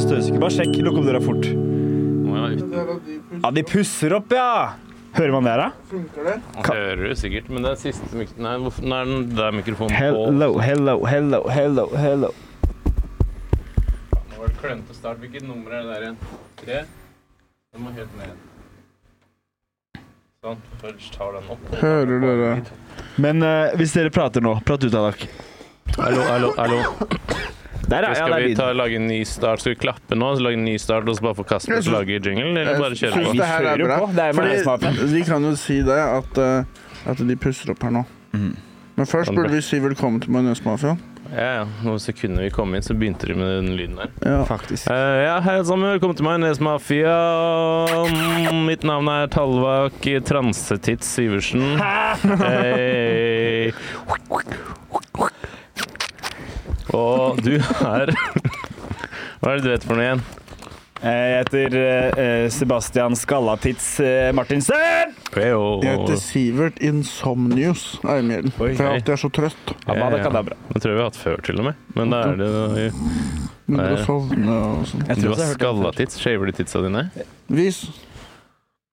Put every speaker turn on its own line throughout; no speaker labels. sjekk. Lukk opp døra fort.
Må jo være
Det
uten.
der at de
Ja, de pusser opp, ja! Hører man det her, da?
funker det.
Han hører det sikkert, men det er siste mik Nei, hvorfor Nå er den der mikrofonen på.
Hello, hello, hello, hello, hello.
Nå var det klønete start. Hvilket nummer er det der igjen? Tre? Den må helt ned. Sånn. Først tar den opp.
Hører dere?
Men eh, hvis dere prater nå, prat ut av dere.
Hallo, hallo, hallo.
Der, ja. ja,
Skal
det er
vi
lyd.
ta, lage en ny start? Skal vi klappe nå? Så lage en ny start, og så bare få Kasper
Jeg
til å
syns-
lage jinglen? Eller bare
Jeg
kjøre
syns
på?
det her
kjører
er
jo på.
bra.
Det er jo meg som har
Fordi de kan jo si det, at, eh, at de pusser opp her nå.
Mm.
Men først burde vi si velkommen til Majones Mafia.
Ja, ja. Noen sekunder vi kom inn, så begynte de med den lyden der.
Ja.
Faktisk.
Eh, ja, hei alle sammen. Velkommen til meg, Nesmafia. Mm, Mitt navn er Talvak Transetitt Syversen. Eh. Hei. Og du er Hva er det du heter for noe igjen?
Jeg heter eh, eh, Sebastian Skallatitz eh, Martinsen!
Jeg heter Sivert Insomnius Eimhjellen. For
Oi.
jeg alltid er så trøtt.
Abadakadabra.
Det tror jeg vi har hatt før, til og med. Men da er det
Begynner
Nei.
å sovne og sånn.
Jeg
Du har
tror også jeg hørte det før.
skallatits. Shaver du titsa dine?
Vis.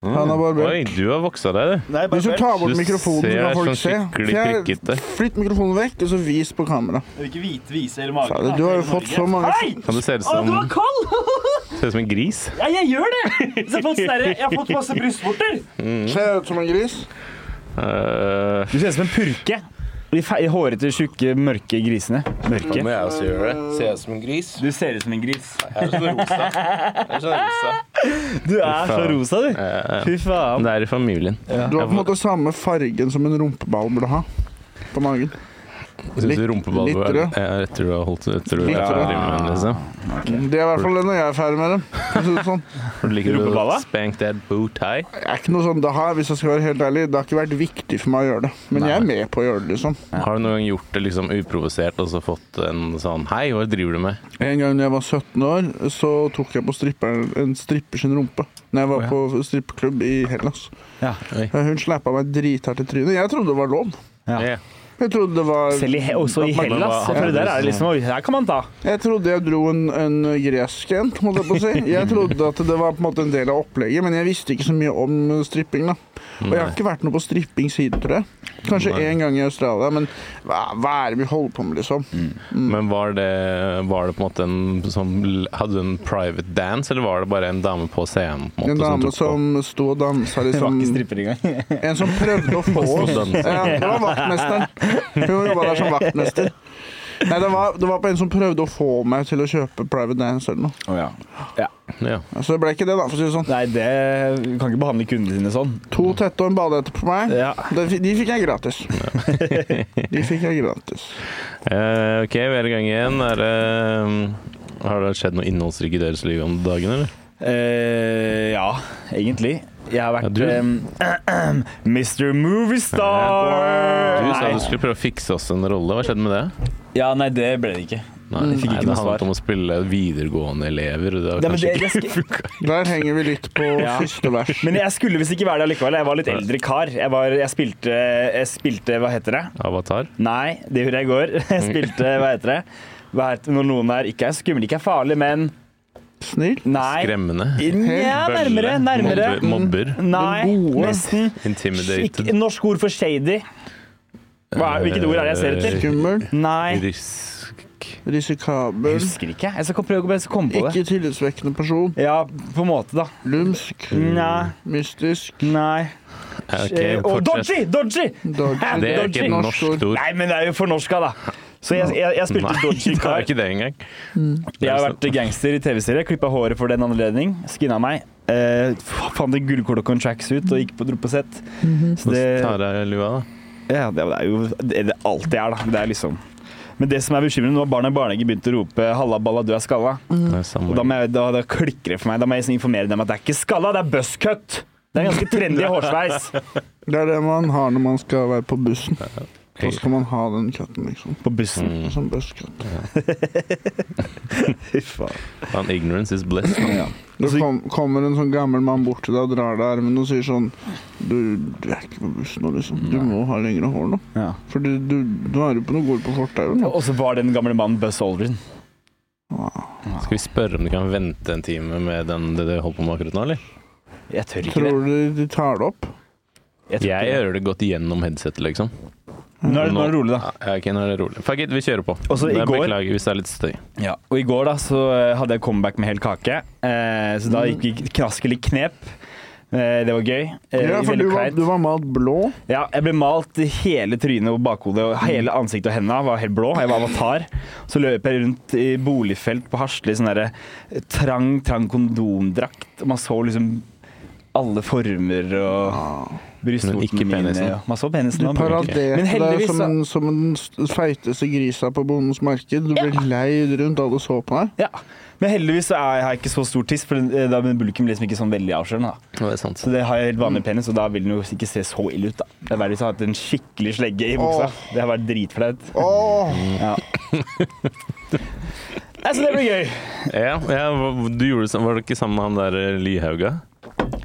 Han er barbert.
Oi, du har voksa deg, du.
Nei,
Hvis du tar
Du
bort mikrofonen, så
ser
kan folk
sånn
se.
skikkelig
Fjær-
prikkete.
Flytt mikrofonen vekk, og så vis på kamera.
Jeg vil ikke vite, vise eller
Sa det, Du har jo fått så mange
Hei!
Kan du se
Å,
ut som,
du var kald!
ser ut som en gris?
ja, jeg gjør det! Så jeg, har fått sånne- jeg har fått masse brystvorter.
Mm.
Ser jeg ut som en gris?
Eh,
Du ser ut som en purke. De fe- hårete, tjukke, mørke grisene. Mørke.
jeg også gjøre det. Ser jeg ut som en gris?
Du ser ut som en gris.
Jeg er sånn rosa. Jeg er sånn rosa.
Du er så
faen.
rosa, du. Fy faen.
eh, Det er i familien.
Du har på en måte samme fargen som en rumpeball burde ha på magen.
Syns du
Litt-
rumpeball
litt
var
rød.
Ja, etter du har holdt etter du
Litt
er
rød.
ferdig med den, liksom.
Det er i hvert fall det når jeg er ferdig med dem. For å si det sånn.
For du liker å
Rumpeballa?
Spank that boot high.
Jeg er ikke noe sånn, det har, hvis jeg skal være helt ærlig, det har ikke vært viktig for meg å gjøre det. Men jeg er med på å gjøre det, liksom.
Har du noen gang gjort det liksom uprovosert og så fått en sånn Hei, hva driver du med?
En gang da jeg var 17 år, så tok jeg på stripperen, en stripper sin rumpe. Når jeg var på strippeklubb i Hellas.
Ja.
Oi.
Hun slappa meg drithardt i trynet. Jeg trodde det var lov.
Ja.
Ja.
Jeg trodde det var
Selv i, he- også i
at man-
Hellas. Jeg tror der er det liksom Oi, her kan man ta.
Jeg trodde jeg dro en, en gresk en, holdt jeg på å si. Jeg trodde at det var på en måte en del av opplegget, men jeg visste ikke så mye om eh, stripping. da. Og jeg har ikke vært noe på stripping siden, tror jeg. Kanskje
Nei.
én gang i Australia, men hva, hva er det vi holder på med, liksom?
Men var det, var det på en måte en sånn Hadde du en private dance, eller var det bare en dame på scenen? på en måte,
En dame
tok på?
som sto og dansa,
Det var
liksom.
ikke stripper engang.
En som prøvde å få
og
oss.
dansa.
Ja, det var vaktmesteren. Hun jobba der som vaktmester. Nei, det var, det var på en som prøvde å få meg til å kjøpe private dance eller noe.
Å, ja.
ja.
Så det ble ikke det, da, for å si det sånn.
Nei, det vi kan ikke behandle kundene sine sånn.
To tette og en badehette på meg.
Ja.
De, fi- de fikk jeg gratis. De fikk jeg gratis.
Eh, ok, vi er i gang igjen. Er, det- mm, har det skjedd noe innholdsrikt i deres liv om dagen, eller?
Eh, ja, egentlig. Jeg har vært
Ja, du-
eh, Mr. Moviestar!
Du sa du skulle prøve å fikse oss en rolle. Hva skjedde med det?
Ja, nei, det ble det ikke.
Nei,
Jeg Mm, fikk
nei,
ikke
det
noe svar.
handlet om å spille videregående elever. og Det var
Nei, men,
kanskje
det, jeg, sk-
Der henger vi litt på
Ja.
siste vers.
men jeg skulle visst ikke være det likevel. Jeg var litt eldre kar. Jeg, var, jeg, spilte, jeg spilte Hva heter det?
ikke avatar.
Nei, det gjorde jeg i går. Jeg spilte Hva heter det? Hva heter, når noen er ikke er skumle, ikke er farlig, men
Snill.
Nei.
Skremmende.
Ja, nærmere.
Bølle.
Nærmere. Mm.
Mobber. mobber
Nei,
Den gode.
nesten.
intimidated.
Ikke, norsk ord for shady. Hva er, hvilket ord er det jeg ser etter?
Skummel.
Nei,
Risk.
jeg
Risikabel.
husker ikke. Jeg skal kom- prøve å komme på det.
Ikke tillitsvekkende person.
Ja, på en måte, da.
Lumsk.
Nei.
Mystisk.
Nei.
Ja, ok,
Eh, Og
fortsett.
dodgy! Dodgy!
Dodgy.
Det er
dodgy.
ikke et norsk ord.
Nei, men det er jo fornorska, da. Så jeg, jeg, jeg spilte
Nei,
dodgy
det er
kar.
ikke det engang.
Jeg har vært gangster i TV-serie. Klippa håret for den anledning. Skinna meg. Eh, f- fant en gullklokke og en tracksuit og gikk på dro på sett. Så det,
Ta av deg lua, da.
ja, det er jo det er alt det er, da. Det er liksom Men det som er bekymrende, nå har barna i barnehage begynt å rope 'halla balla, du er skalla'.
Det er samme.
Mm. Og da, må jeg, da, da klikker det for meg. Da må jeg liksom informere dem at det er ikke skalla, det er buzzcut. Det er en ganske trendy hårsveis.
Det er det man har når man skal være på bussen. Da skal man ha den katten, liksom.
På bussen.
Mm.
Som busskatt.
Fy faen.
Faen, Ignorance is bliss.
Det kom, kommer en sånn gammel mann bort til deg og drar deg i armen og sier sånn du, du er ikke på bussen nå, liksom. Du må ha lengre hår nå.
Ja.
For du, du, nå er du på noe god på fortauet.
Og så var den gamle mannen Buzz Aldrin.
Skal vi spørre om du kan vente en time med den, det du holder på med akkurat nå, eller?
Jeg tør ikke det.
Tror du de tar det opp?
Jeg
Jeg
tror ikke det.
hører det godt gjennom headsetet, liksom.
Nå er det, Mm. nå er det rolig, da.
Ja, ok, nå er det rolig. Fuck it, vi kjører på.
Også i
Jeg
går-
Beklager hvis det er litt støy.
Ja, og i går da så eh, hadde jeg comeback med hel kake, eh, så
Mm.
da gikk vi knaskelig knep. Eh, det var gøy. Eh,
Ja, for
veldig
du var,
kleint.
du var malt blå.
Ja, jeg ble malt i hele trynet og bakhodet,
Mm.
og hele ansiktet og hendene var helt blå. Jeg var avatar. Så løp jeg rundt i boligfelt på Hasle i sånn derre trang, trang kondomdrakt. Og man så liksom alle former og
Men ikke
brystvortene mine.
penisen.
og- Man så penisen.
Ah.
og- Men
Du paraderte deg
heldigvis
som,
så-
en- som den s- feiteste grisa på bondens marked. Du ble leid rundt, alle så på deg.
Ja. Men heldigvis så er jeg har jeg ikke så stor tiss, for den- eh, da blir bulken liksom ikke sånn veldig avslørende. da.
Det er sant.
Så det har jeg helt vanlig penis, og da vil den jo ikke se så ille ut, da. Det er verre hvis jeg har hatt en skikkelig slegge i buksa.
Åh.
Det har vært dritflaut.
Åh,
Ja. Nei, så det blir gøy.
Ja, ja, hva- du gjorde det sam- Var det ikke sammen med han der eh, Lyhauga?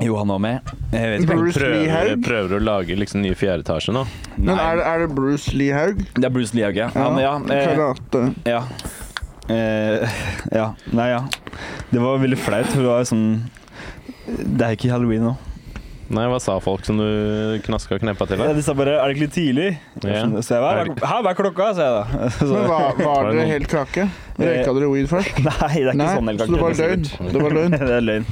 Jo, han var med. Eh, Jeg vet ikke.
Bruce
Prøver,
Lihaug?
prøver å lage liksom ny fjerde etasje nå.
Men er, det- er det Bruce Lihaug?
Det er Bruce Lee, ja. Han, ja, eh,
Karate.
ja. Eh, ja. Nei, ja. Det var veldig flaut. for Det var sånn Det er ikke halloween nå.
Nei, hva sa folk som du knaska og kneppa til?
Ja,
Da?
de sa bare 'er det ikke litt tidlig?'
Ja.
Ja. Så jeg var, Hæ, hva er klokka? sa jeg da. Så,
Men var,
Var
var
det
dere
noen-
helt kake? Røyka dere weed først?
nei, det er ikke
Nei,
sånn helt
så det var
kake.
løgn. Det var løgn.
Det er løgn.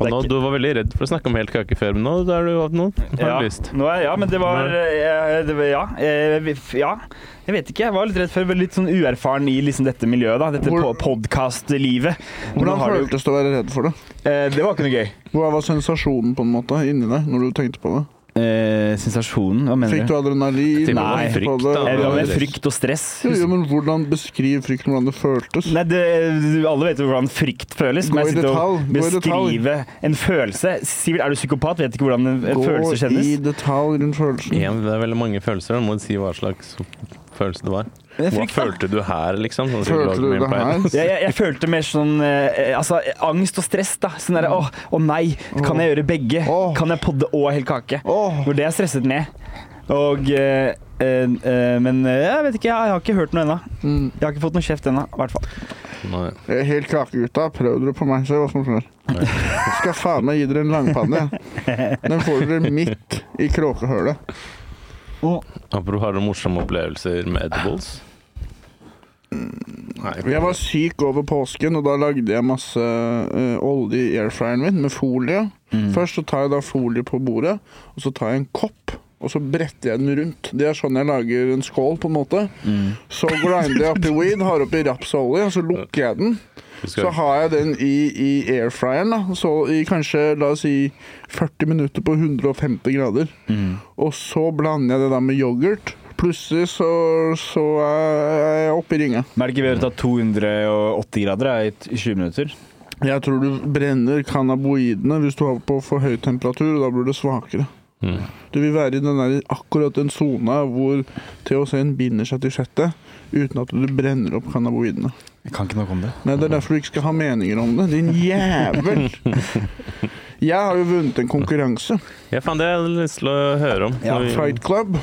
Og nå, du var veldig redd for å snakke om helt kake før, men nå, da er du, nå har du
Ja,
lyst.
nå er, ja men det var, eh, det var ja, eh, vi- ja. Jeg vet ikke. Jeg var litt redd for litt sånn uerfaren i liksom dette miljøet. da, Dette
Hvor-
podkast-livet. Nå
Hvordan
har du-
føltes det å være redd for det?
Eh, det var ikke noe gøy.
Hva var sensasjonen på en måte inni deg når du tenkte på det?
Eh, sensasjonen? Hva mener
Fikk
du?
du adrenalin?
Nei.
tenkte på
Frykt,
det?
da.
Jeg var med
Stress.
Eh, frykt og stress.
Jo, jo, men hvordan beskriv frykten, hvordan det føltes?
Nei, det, du- Alle vet jo hvordan frykt føles, men
Gå i
jeg sitter og
detalj, gå i detalj.
beskriver en følelse Sivert, er du psykopat? Vet ikke hvordan en, en følelse
Gå i
kjennes?
detalj rundt følelsen.
Ja, det er veldig mange følelser. Da må du si hva slags følelse det var.
Det er
Hva
frykt, da.
følte du her, liksom? Sånn
Følte du
psykologen min
det
pleier.
Jeg,
her?
jeg, jeg følte mer sånn eh, altså, angst og stress. da Sånn derre åh, å nei, kan jeg gjøre begge?
Åh.
Kan jeg podde og hel kake?
Åh,
Hvor det er stresset ned. Og eh, eh, eh, Men eh, jeg vet ikke, jeg har ikke hørt noe ennå.
mm.
Jeg har ikke fått noe kjeft ennå, i hvert fall.
Nei.
Jeg er Helt kakegutta, prøv dere på meg, se hva som skjer.
Nei.
Skal faen meg gi dere en langpanne. jeg. Den får dere midt i kråkehølet.
Apropos, har du morsomme opplevelser med edibles? Nei.
Jeg var syk over påsken, og da lagde jeg masse eh, olje i airfryeren min med folie.
Mm,
Først så tar jeg da folie på bordet, og så tar jeg en kopp. Og så bretter jeg den rundt. Det er sånn jeg lager en skål, på en måte.
mm,
Så grinder jeg oppi weed, har oppi rapsolje, og så lukker jeg den.
Du skal-
Så har jeg den i, i airfryeren, da. Så i kanskje, la oss si, 40 minutter på 150 grader.
mm.
Og så blander jeg det da med yoghurt. Plutselig så, så er jeg oppe i ringa.
Men er det ikke bedre å ta 280 grader da, i t- i 20 minutter?
Jeg tror du brenner cannaboidene hvis du har på for høy temperatur, og da blir det svakere.
Mm.
Du vil være i den der, akkurat den sona hvor THC-en binder seg til fettet, uten at du brenner opp cannaboidene.
Jeg kan ikke noe om det.
Nei, Det er derfor du ikke skal ha meninger om det, din jævel! Jeg har jo vunnet en konkurranse.
Ja, faen, det har jeg lyst til å høre om.
Ja,
Når vi-
Fight Club.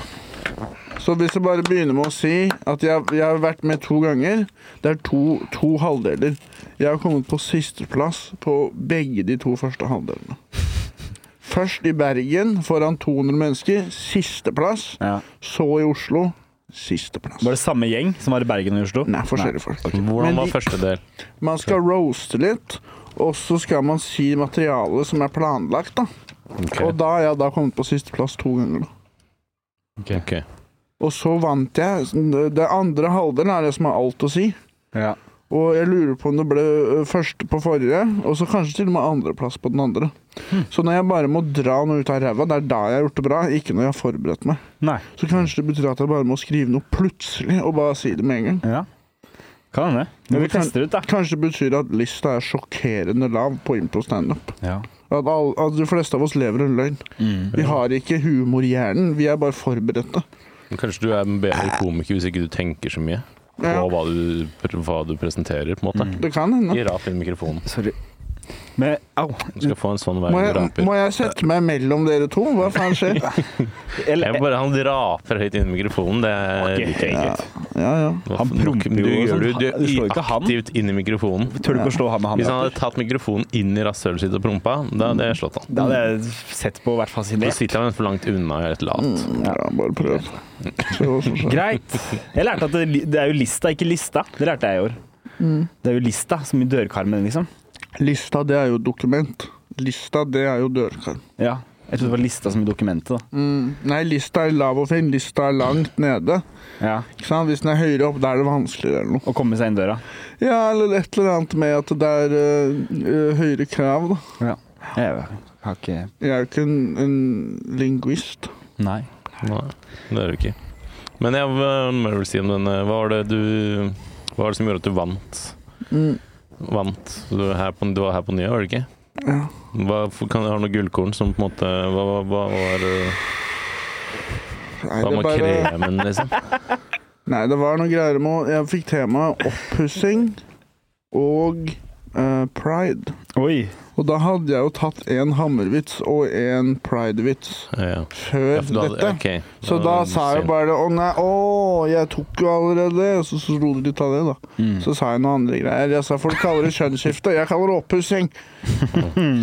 Så hvis jeg bare begynner med å si at jeg, jeg har vært med to ganger Det er to, to halvdeler. Jeg har kommet på sisteplass på begge de to første halvdelene. Først i Bergen foran 200 mennesker. Sisteplass.
Ja.
Så i Oslo. Sisteplass.
Var det samme gjeng som var i Bergen og i Oslo?
Nei, forskjellige folk.
Hvordan
Men
var
de-
første del?
Man skal roaste litt, og så skal man si materialet som er planlagt. da.
Ok.
Og da har jeg da kommet på sisteplass to ganger. da.
Ok.
Og så vant jeg. Det andre halvdelen er det som har alt å si.
Ja.
Og jeg lurer på om det ble ø, første på forrige, og så kanskje til og med andreplass på den andre. Så når jeg bare må dra noe ut av ræva, det er da jeg har gjort det bra, ikke når jeg har forberedt meg.
Nei.
Så kanskje det betyr at jeg bare må skrive noe plutselig, og bare si det med en gang.
Ja. Kan hende.
Men
Men
vi
vi tester ut, da.
Kanskje det betyr at lista er sjokkerende lav på impro-standup.
Ja.
At, all- at de fleste av oss lever en løgn.
Mm.
Vi har ikke humorhjernen, vi er bare forberedte.
Men Kanskje du er en bedre komiker hvis ikke du tenker så mye på
Ja. Mm.
hva du, hva du presenterer, på en måte.
Det kan hende.
Gi rart i mikrofonen.
Sorry. Men au.
Du skal få en sånn hver
Må
gang du
jeg,
raper.
må jeg sette meg mellom dere to? Hva faen skjer?
Eller, eh,
Jeg vil bare, han raper høyt inn i mikrofonen. Det
Ok.
liker jeg ikke.
Ja, ja.
Hva
Han
faen-
promper
du,
jo og
gjør
sånn.
du, du
Du slår ikke
gjør
han.
aktivt inn i mikrofonen.
Tør du ikke å slå han med han?
Hvis han
Jakob?
hadde tatt mikrofonen inn i rasshølet sitt og prompa, da hadde jeg slått han.
Da hadde jeg sett på og vært
Så
fascinert.
sitter han for langt unna og gjør et eller annet.
ja bare prøv. Se hva som skjer.
Greit. Jeg lærte at det, det er jo lista, ikke lista. Det lærte jeg i år. Det er jo lista som i dørkarmen, liksom.
Lista, det er jo dokument. Lista, det er jo dørkarm.
Ja. Jeg trodde det var lista som i dokumentet, da.
Nei, lista er lav og fin. Lista er langt nede.
Ja.
Ikke sant? Hvis den er høyere opp, da er det vanskeligere eller noe.
Å komme seg inn døra.
Ja, eller et eller annet med at det er øh, øh, høyere krav, da.
Ja. Jeg har ikke
Jeg er jo ikke en, en lingvist.
Nei.
Nei, det er det ikke. Men jeg hva må jeg vel si om denne Hva var det du Hva var det som gjorde at du vant?
Mm.
Vant. Du var her på, du var her på nye, var det ikke?
Ja.
Hva, kan jeg ha noe gullkorn som på en måte Hva, hva, hva var, eh,
Nei,
hva
det
var
bare-
kremen, liksom?
Nei, det var noe greier med å- Jeg fikk temaet oppussing og eh, pride.
Oi.
Og da hadde jeg jo tatt en hammervits og en pridevits
Ja.
før
Ja, for du hadde-
dette.
ok.
Så da sa jeg
synd.
bare å nei, å, jeg tok jo allerede det. Så så lo de litt av det, da.
Mm.
Så sa jeg noen andre greier. Jeg sa folk kaller det kjønnsskifte, jeg kaller det oppussing.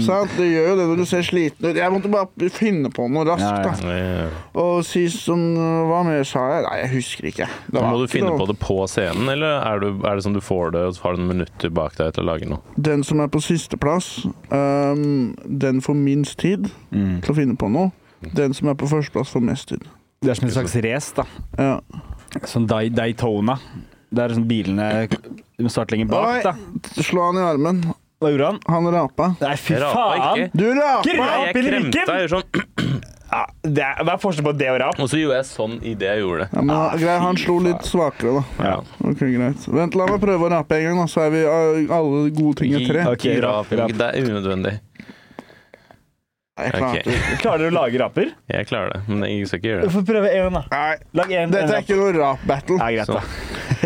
Sant? Det gjør jo det når du ser sliten ut. Jeg måtte bare finne på noe
Ja, ja.
raskt, da.
Ja.
Og si som Hva mer sa jeg? Nei, jeg husker ikke. Det
Men
var
Må du
ikke
finne
noe.
på det på scenen, eller er, du, er det sånn du får det, og så har du noen minutter bak deg til å lage noe?
Den som er på sisteplass, um, den får minst tid
Mm.
til å finne på noe. Den som er på førsteplass, får mest tid.
Det er som en slags race, da.
Ja.
Sånn Dai- Daytona. Der sånn bilene de starter lenger bak, da.
Slå han i armen.
Hva gjorde han?
Han rapa.
Nei, fy
Jeg rapet
faen!
ikke.
Du rapa!
Greit!
Nei,
Rap eller
jeg
ikke?
kremta, jeg gjorde sånn
Ja, det er, hva er forskjellen på det og rap?
Og så gjorde jeg sånn idet jeg gjorde det.
Ja, men, greit, han slo litt svakere, da.
Ja.
Ok, greit. Vent, la meg prøve å rape en gang, da, så er vi uh, alle gode ting i tre.
Ok,
Ikke
rap,
rap,
rap.
Det er unødvendig.
Nei, jeg klarte
ok.
det ikke.
Klarer dere å lage raper?
Jeg klarer det, men jeg skal ikke gjøre
Du
det.
får prøve en, da.
Nei,
Lag en, en
dette er
rap.
ikke noe rap-battle.
Ja, greit, da.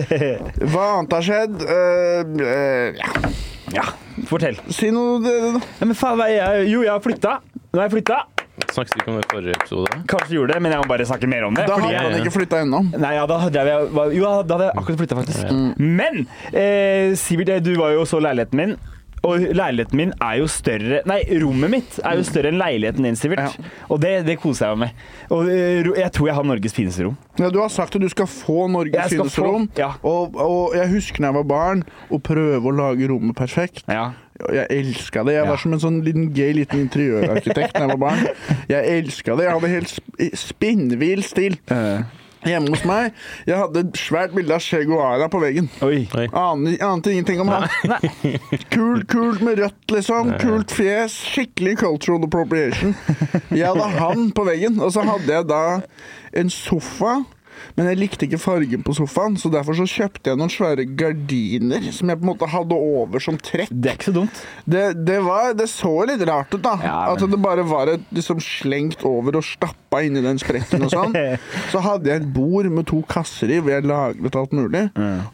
Hva annet har skjedd? Uh, uh, ja.
Ja, fortell.
Si noe, dere, da.
Nei, men faen, hva er jeg? Jo, jeg har flytta. Nå har jeg flytta.
Snakket vi ikke om det i forrige episode?
Kanskje gjorde det, men jeg må bare snakke mer om det.
Da
fordi
hadde
jeg,
han ikke flytta ennå.
nei, ja, da hadde jeg, var- jo, da hadde jeg akkurat flytta, faktisk.
Mm.
Men eh, Sivert, eh, du var jo og så leiligheten min. Og leiligheten min er jo større Nei, rommet mitt er jo større enn leiligheten din, Sivert.
Ja.
Og det, det koser jeg meg med. Og eh, ro- jeg tror jeg har Norges fineste rom.
Ja, du har sagt at du skal få
Jeg
Norges
skal
fineste rom.
få- ja.
Og, og jeg husker da jeg var barn, å prøve å lage rommet perfekt.
Ja.
Og Jeg elska det. Jeg
Ja.
var som en sånn liten gay liten interiørarkitekt da jeg var barn. Jeg elska det. Jeg hadde helt sp spinnvill stil hjemme hos meg. Jeg hadde et svært bilde av Che Guevara på veggen.
Oi.
Oi.
Aner, ante ingenting om han. Kult, kult med rødt, liksom. Kult fjes. Skikkelig cultural appropriation. Jeg hadde han på veggen, og så hadde jeg da en sofa. Men jeg likte ikke fargen på sofaen, så derfor så kjøpte jeg noen svære gardiner som jeg på en måte hadde over som trekk.
Det er ikke så dumt.
Det, det, var, det så litt rart ut, da.
Ja, men-
At det bare var et, liksom, slengt over og stappa inni den spretten og sånn. Så hadde jeg et bord med to kasser i hvor jeg lagret alt mulig.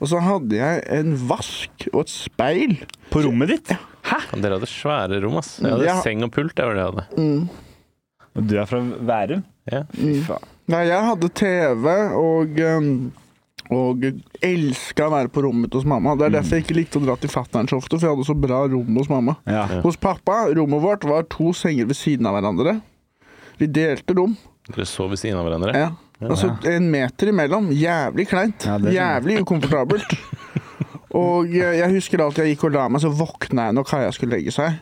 Og så hadde jeg en vask og et speil.
På rommet ditt? Hæ?
Faen, Dere hadde svære rom, ass. Jeg hadde
Ah. Ja.
seng og pult. Det var det jeg hadde.
Og du er fra Værum?
Ja.
Fy faen.
Nei, jeg hadde TV og um, og elska å være på rommet mitt hos mamma. Det er derfor jeg ikke likte å dra til fatter'n så ofte, for jeg hadde så bra rom hos mamma.
Ja.
Hos pappa, rommet vårt, var to senger ved siden av hverandre. Vi delte rom.
Dere sov ved siden av hverandre.
Ja. Altså en meter imellom. Jævlig kleint.
Ja, det skjønner jeg.
Jævlig ukomfortabelt. Og eh, jeg husker alltid jeg gikk og la meg, så våkna jeg når Kaja skulle legge seg.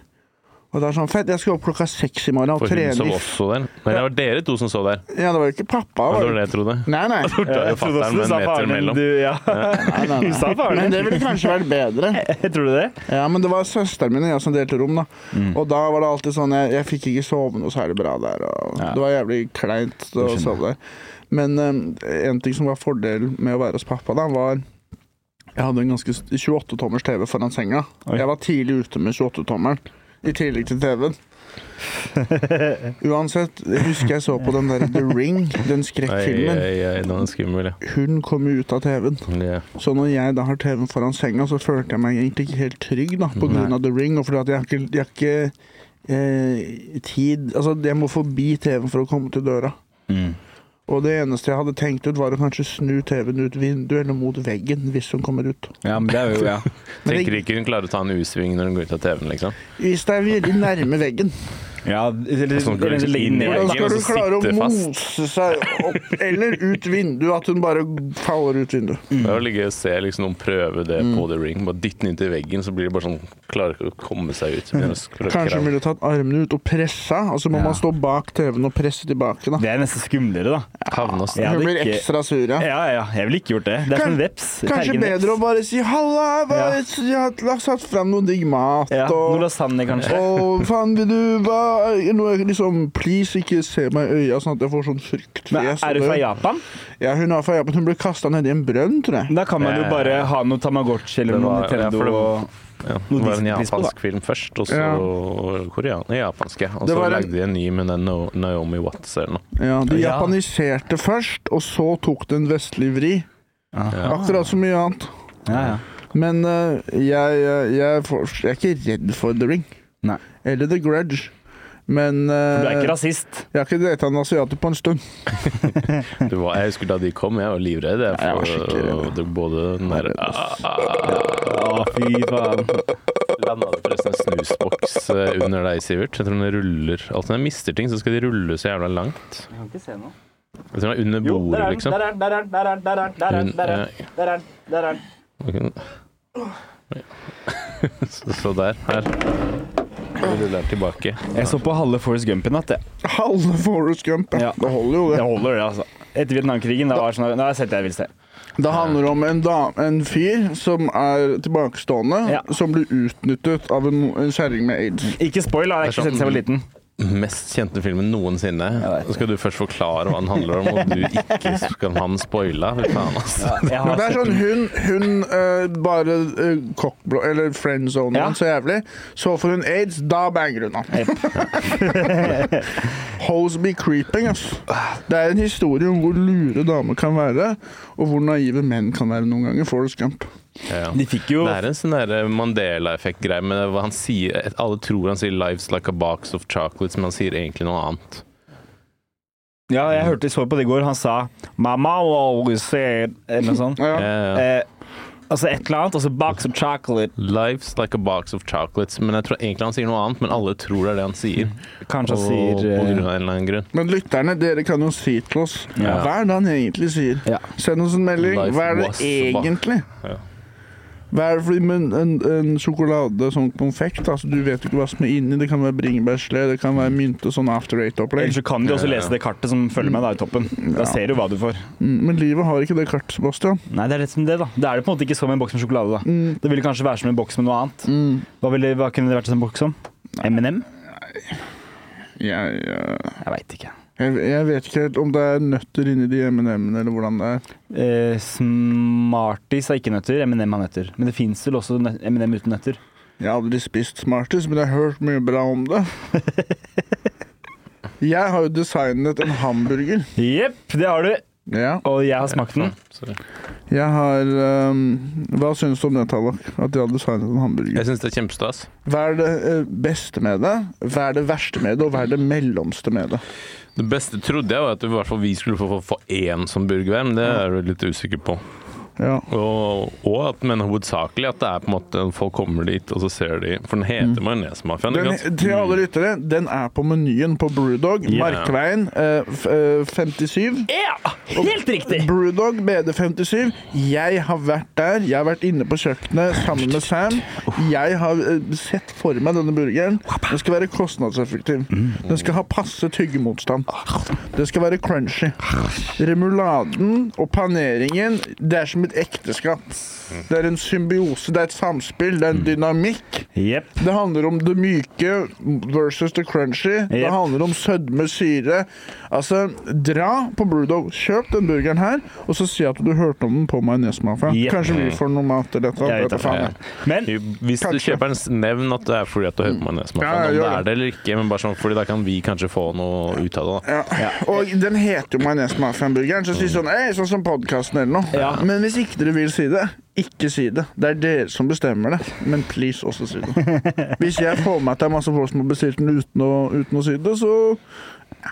Og det er sånn fett, jeg skal opp klokka seks i morgen og
For hun
trene
sov
i f-
også der. Nei, det var dere to som sov der.
Ja, det var jo ikke pappa.
Det
Var
var det jeg trodde.
Nei, nei.
Det var jo fatter'n med en meter
men
imellom.
du ja.
nei, nei,
Du
nei.
sa faren
Men
din.
det ville kanskje vært bedre.
Tror du det?
Ja, men det var søsteren min og jeg som delte rom, da.
Mm.
Og da var det alltid sånn Jeg, jeg fikk ikke sove noe særlig bra der, og
Ja.
det var jævlig kleint å
skjønner.
sove der. Men eh, en ting som var fordelen med å være hos pappa, da, var jeg hadde en ganske st- 28-tommers TV foran senga.
Oi.
Jeg var tidlig ute med 28-tommeren. I tillegg til TV-en. Uansett, jeg husker jeg så på den der The Ring, den
Oi,
skrekkfilmen.
oi, oi, nå er det skummel, ja.
Hun kom jo ut av TV-en.
Ja.
Så når jeg da har TV-en foran senga, så følte jeg meg egentlig ikke helt trygg da, på grunn av The Ring. Og fordi at jeg har ikke, jeg har ikke eh, tid Altså, jeg må forbi TV-en for å komme til døra.
Mm.
Og det eneste jeg hadde tenkt ut, var å kanskje snu TV-en ut vinduet eller mot veggen hvis hun kommer ut.
Ja, men det er jo ja.
Men
Tenker
det,
ikke hun klarer å ta en U-sving når hun går ut av TV-en, liksom.
hvis det er veldig nærme veggen,
ja eller,
Sånn går det
eller
liksom
legge
inn i
ned.
veggen,
hvordan
og
skal
så
hun klare å
sitter fast.
mose seg opp eller ut vinduet? At hun bare faller ut vinduet.
Det er jo ligge og se liksom, noen prøve det
Mm.
på The Ring. Bare dytte den inntil veggen, så blir det bare sånn Klarer ikke å komme seg ut. Begynner å skrøke
Kanskje hun
av.
ville tatt armene ut og pressa, og så må
Ja.
man stå bak TV-en og presse tilbake. da.
Det er nesten skumlere, da.
Havne oss.
Ja.
Hun
det
blir
er ikke-
ekstra sur, ja.
Ja, ja, jeg ville ikke gjort det. Det er som en veps.
Kanskje bedre å bare si 'halla,
Ja.
bare, jeg har la- satt frem noe digg mat',
ja, Noe
og
lasagne, kanskje.
og faen, vil du hva noe, liksom, Please, ikke se meg i øya, sånn at jeg får sånn
Men
fryktfjes.
er du fra Japan?
Ja, hun er fra Japan. Hun ble kasta nedi en brønn, tror jeg.
Da kan man jo
Ja.
bare ha noe Tamagotchi eller
Det
noe
var- ja,
Nintendo.
for det-
og-
Ja, det var en
Disney-pris på, da.
japansk film først, og så korean, japanske. Og
Det
så
var en-
lagde de en ny med den No- Naomi Watts eller noe.
Ja, De
Ja.
japaniserte først, og så tok det en vestlig vri.
Ja.
Akkurat som mye annet.
Ja, ja.
Men eh, jeg, jeg, jeg, får, jeg er ikke redd for The Ring.
Nei.
Eller The Grudge. Men eh,
Du er ikke rasist.
jeg har ikke data en asiater på en stund.
Det var, jeg husker da de kom, jeg var livredd. Jeg,
Ja, jeg var
for,
skikkelig redd.
det, både den der ah,
Å, fy faen.
Landa det forresten en snusboks eh, under deg, Sivert? Jeg tror den ruller Alltid når jeg mister ting, så skal de rulle så jævla langt.
Jeg kan ikke se noe.
Jeg tror den er under
Jo, der
bordet,
er den,
liksom.
der er den, der er den, der er den, der er den, der er den,
Hun-
der er
ja.
den, der er den, der er den.
eh, Så, så der. Her. Så ruller den tilbake.
Jeg så på halve Forest Gump i natt, jeg.
Halve Forest Gump.
Ja.
Ja. Det holder jo, det.
Det holder, det, altså. Etter Vietnamkrigen. Da var det sånn, nå har jeg sett det jeg vil se.
Det handler om en, dam, en fyr som er tilbakestående,
Ja.
som blir utnyttet av en, en kjerring med aids.
Ikke spoil, da. Jeg har ikke sett det siden jeg var liten.
Mest kjente filmen noensinne.
vet
Så skal du først forklare hva den handler om, og du ikke skal han spoila. Fy faen, ass.
Jeg har
Men det er
sett
sånn, Hun, hun eh, bare uh, cockblå, eller friendzone
Ja.
han så jævlig. Så får hun aids, da banger hun han. Hoes be creeping, ass. Det er en historie om hvor lure damer kan være, og hvor naive menn kan være noen ganger. Forrest Gump.
Ja.
De fikk jo
Det er en sånn der Mandela-effekt-greie, men hva han sier, alle tror han sier 'lives like a box of chocolates', men han sier egentlig noe annet.
Ja, jeg hørte så på det i går. Han sa 'Mamma always said Eller noe sånt.
Ja.
Ja, ja.
Eh, altså et eller annet. Altså box of chocolate.
'Lives like a box of chocolates', men jeg tror egentlig han sier noe annet, men alle tror det er det han sier.
Kanskje
Og,
han sier
på grunn
eh,
av en eller annen grunn.
Men lytterne, dere kan jo si til oss
Ja.
hva er det han egentlig sier.
Ja.
Send oss en melding.
Life
Hva er det
was a bar.
egentlig?
Ja.
Hva er det for en, en, en sjokolade sånn konfekt? Altså, du vet jo ikke hva som er inni. Det kan være bringebærgelé, det kan være mynte, sånn after
Ellers
eight-opplegg.
så kan de også
Ja, ja.
lese det kartet som følger med da i toppen. Da ser du hva du får.
Mm, Men livet har ikke det kartet, Sebastian.
Nei, det er litt som det, da. Det er det på en måte ikke som en boks med sjokolade, da.
Mm,
Det ville kanskje være som en boks med noe annet.
mm.
Hva, ville, hva kunne det vært som en boks om? M&M?
Jeg, jeg,
Jeg veit ikke.
jeg vet ikke helt om det er nøtter inni de M&M-ene, eller hvordan det er.
Eh, Smarties er ikke nøtter, M&M har nøtter. Men det fins vel også nø- M&M uten nøtter.
Jeg har aldri spist Smarties, men jeg har hørt mye bra om det. Jeg har jo designet en hamburger.
Jepp, det har du!
Ja.
Og jeg har smakt den.
Sorry.
Jeg har ehm, Hva syns du om det, Tallak? At jeg har designet en hamburger?
Jeg syns det er kjempestas.
Hva er det eh, beste med det? Hva er det verste med det? Og hva er det mellomste med det?
Det beste trodde jeg var at i hvert fall vi skulle få- få få én som burger hver, men det er jeg litt usikker på.
Ja.
Og, og at, men hovedsakelig at det er på en måte folk kommer dit, og så ser de For den heter majonesmafiaen,
Mm. Den,
ikke sant?
til alle lyttere, den er på menyen på Brewdog.
Ja.
Markveien eh, f- eh, 57.
Ja! Helt riktig!
Brewdog BD57. Jeg har vært der. Jeg har vært inne på kjøkkenet sammen med Sam. Jeg har eh, sett for meg denne burgeren. Den skal være kostnadseffektiv. Den skal ha passe tyggemotstand. Det skal være crunchy. Remuladen og paneringen, det er som et ekteskap. Det er en symbiose, det er et samspill, det er en dynamikk.
Jepp.
Det handler om det myke versus det crunchy. Det
Yep.
handler om sødme, syre. Altså, dra på Brewdog. Kjøp kjøp den burgeren her, og så si at du hørte om den på Majonesmafia.
Yep.
Kanskje vi får noe mat til dette.
Jeg vet
vet
det,
faen
ja.
jeg.
Men
Hvis du
Kanskje.
kjøper den, s- nevn at det er fordi at du hører på Majonesmafiaen.
Ja, jeg
om det
gjør det.
er det eller ikke, men bare sånn fordi da kan vi kanskje få noe ut av det. da.
Ja. Og den heter jo Majonesmafiaen-burgeren, så si sånn «Ei, sånn som podkasten eller noe.
Ja.
Men hvis ikke dere vil si det, ikke si det. Det er dere som bestemmer det. Men please, også si det. Hvis jeg får med at det er masse folk som har bestilt den uten å, uten å si det, så ja.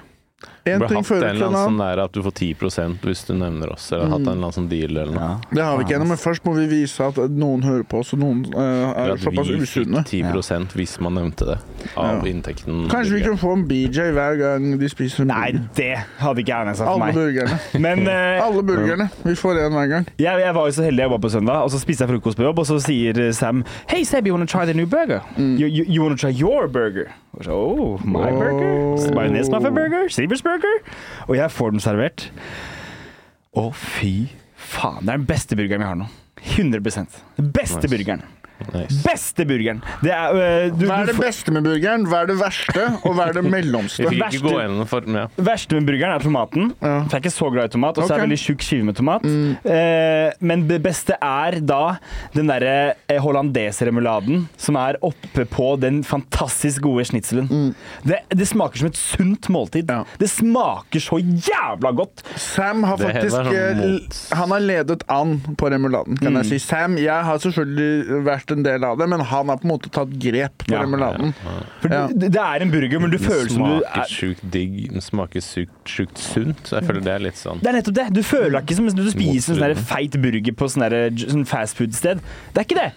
En
Burde
ting
hatt en
fører til
eller
en
annen sånn
annen.
der at du får 10 hvis du nevner oss, eller
Mm.
hatt en eller annen sånn deal eller noe.
ja.
Det har vi ikke ennå, men først må vi vise at noen hører på oss, og noen eh,
Eller
er såpass
at vi
usunne.
fikk 10 hvis man nevnte det, av inntekten.
Kanskje vi kunne få en BJ hver gang de spiser en
Nei,
burger.
det hadde ikke Ernes sagt for
Alle
meg.
burgerne.
Men eh,
Alle burgerne. Vi får en hver gang.
jeg, jeg var jo så heldig jeg var på søndag, og så spiste jeg frokost på jobb, og så sier eh, Sam Hey Seb, you wanna try the new burger? You, you, you wanna try your burger? Og så, oh, my
Oh.
burger? Majonesmafia burger? Sivers burger? Og jeg får den servert. Å, fy faen. Det er den beste burgeren vi har nå. 100 Den beste
Nice.
burgeren.
Nice.
Beste burgeren! Det er øh, du,
Hva
du
er det
får-
beste med burgeren? Hva er det verste, og hva er det
Vi
mellomste?
fikk
verste-
ikke gå gjennom for ja.
verste med burgeren er tomaten.
Ja.
For jeg er ikke så glad i tomat, og så er
Ok. Mm.
jeg veldig tjukk skive med tomat. Eh, men det beste er da den derre eh, hollandeseremuladen som er oppe på den fantastisk gode schnitzelen. Det, det smaker som et sunt måltid.
Mm. Ja.
Det smaker så jævla godt!
Sam har
Det er
faktisk
sånn
eh,
mot-
Han har ledet an på remuladen, kan jeg si. Sam, jeg har selvfølgelig vært en del av det, men han har på en måte tatt grep på
Ja.
remuladen.
For
Ja.
det, det er en burger, men du
Den
føler som du
smaker
er
sjukt digg, den smaker sykt, sjukt sunt.
Mm.
Så jeg føler det er litt sånn
det er nettopp det. Du føler deg ikke som du spiser en sånn der feit burger på sånn der j- sånn fastfood-sted. Det er ikke det.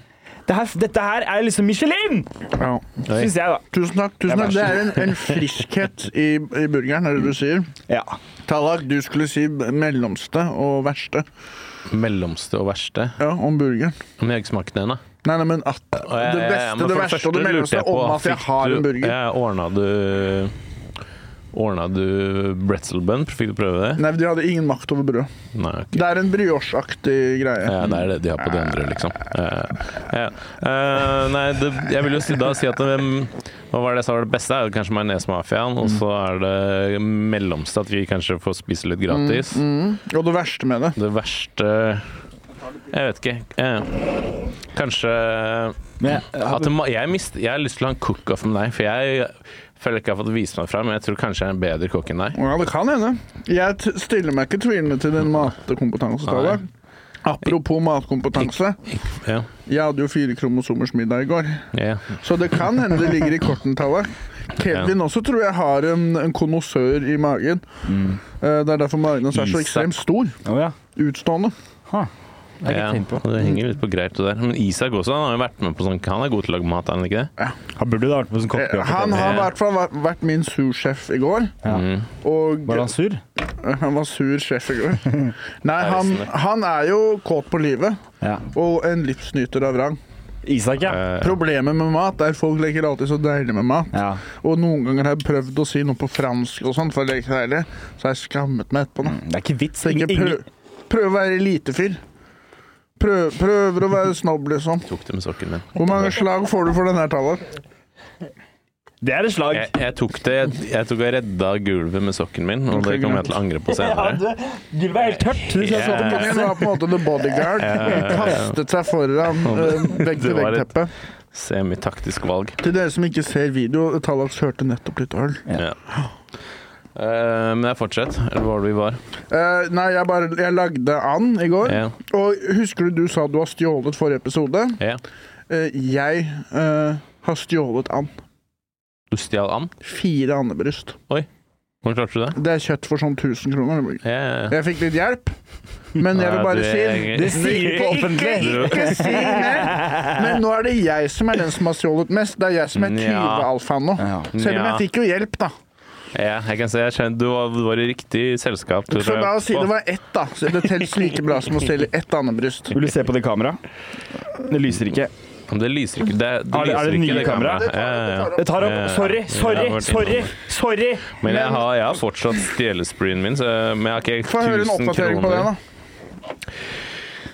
det her, dette her er liksom Michelin,
Ja.
syns jeg, da.
Tusen takk. tusen
Jeg
takk. Det er en, en friskhet i, i burgeren, er det du sier.
Ja.
Tallak, du skulle si mellomste og verste
mellomste og verste.
ja, om burgeren.
Men jeg har ikke smakt den ennå.
Nei, nei, men at
Og jeg-
det
jeg-
beste,
men for
det verste og det
første lurte
mellomste
jeg på,
om at jeg
fikk
har
du-
en burger.
Ja, Ordna du Ordna du bretzel bun? Fikk du prøve det?
Nei, de hadde ingen makt over brød.
Nei. ok.
Det er en brioche-aktig greie.
Ja, det er det de har på de andre, liksom. Ja. Ja. Eh, nei, det, jeg vil jo si, da si at det, Hva var det jeg sa var det beste? er jo kanskje Majonesmafiaen. Og så er det mellomste at vi kanskje får spise litt gratis.
Mm. Og det verste med det
Det verste Jeg vet ikke. Eh, kanskje
Men,
at det, må- jeg, mist, jeg har lyst til å ha en cook-off med deg, for jeg føler ikke jeg har fått vise meg fram. Men jeg tror kanskje jeg er en bedre kokk enn deg.
Ja, det kan hende. Jeg t stiller meg ikke tvilende til din matkompetansetallet. Apropos matkompetanse.
Ja.
Jeg hadde jo fire kromosomers middag i går,
Ja.
så det kan hende det ligger i korten. Tallak. Kevin også tror jeg har en, en konnoissør i magen.
Mm.
Eh, Det er derfor magen hans er så
Isak.
ekstremt stor.
Å ja.
Utstående.
Ha. Det har jeg
Ja,
ikke tenkt på.
det henger litt på greit det der. Men Isak også, han har jo vært med på sånn Han er god til å lage mat, er han ikke det?
Han burde da vært på sånn
Eh,
kokkejobb.
Han har i hvert fall vært- vært min sursjef i går,
Ja.
Mm.
og eh,
Var han sur?
han var sur sjef i går. Nei, han,
Reisende.
han er jo kåt på livet,
Ja.
og en livsnyter av rang.
Isak, ja.
Eh,
Problemet med mat er at folk leker alltid så deilig med mat.
ja.
Og noen ganger har jeg prøvd å si noe på fransk og sånt for å leke deilig, så har jeg skammet meg etterpå. Da.
Det er ikke vits.
Så ikke
Ingen- ingen-
prøv, prøv å være elitefyr. Prøv, prøver å være snobb, liksom.
tok det med sokken min.
Hvor mange slag får du for den her tallet?
Det er et slag.
Jeg, jeg tok det Jeg tok og redda gulvet med sokken min, og det kommer jeg til å angre på senere.
det, gulvet er helt tørt. Det
synes jeg så på
ja.
meg.
Det var på en måte the bodyguard. Kastet seg foran
Det
eh,
var et-
vegg-til-vegg-teppet.
Semitaktisk valg.
Til dere som ikke ser video, Tallaks hørte nettopp litt øl.
Ja. Eh, men jeg fortsetter. Eller hvor var det vi var?
Eh, nei, jeg bare jeg lagde an i går.
Ja.
Og husker du du sa du har stjålet forrige episode?
Ja.
Eh, jeg eh, har stjålet and.
Du stjal and?
Fire andebryst.
Hvordan klarte du det?
Det er kjøtt for sånn 1000 kroner.
Ja, ja, ja.
Jeg fikk litt hjelp, men jeg vil
Nei,
bare
du
si
er- Det sier
du offentlig.
Ikke, ikke, ikke si mer! Men nå er det jeg som er den som har stjålet mest. Det er jeg som er
Nja.
tyvealfaen nå.
Ja.
Selv om jeg
Nja.
fikk jo hjelp, da.
ja, jeg kan si jeg skjønner, du, var, du var i riktig selskap. Du,
Så la oss si det var ett, da. Så det telles like bra som å stjele ett andebryst.
Vil du se på det kameraet? Det lyser ikke.
Det lyser ikke. Det, det
Er det- er
lyser
det nye
ikke, det
kamera?
kameraet. Ja, ja, ja.
Det tar opp.
Ja, ja.
Sorry, sorry,
Jeg har vært
sorry.
innom
sorry.
Men jeg har, jeg har fortsatt stjelespreen min, så, men jeg har ikke 1000
Få
kroner.
høre en oppdatering på det, da.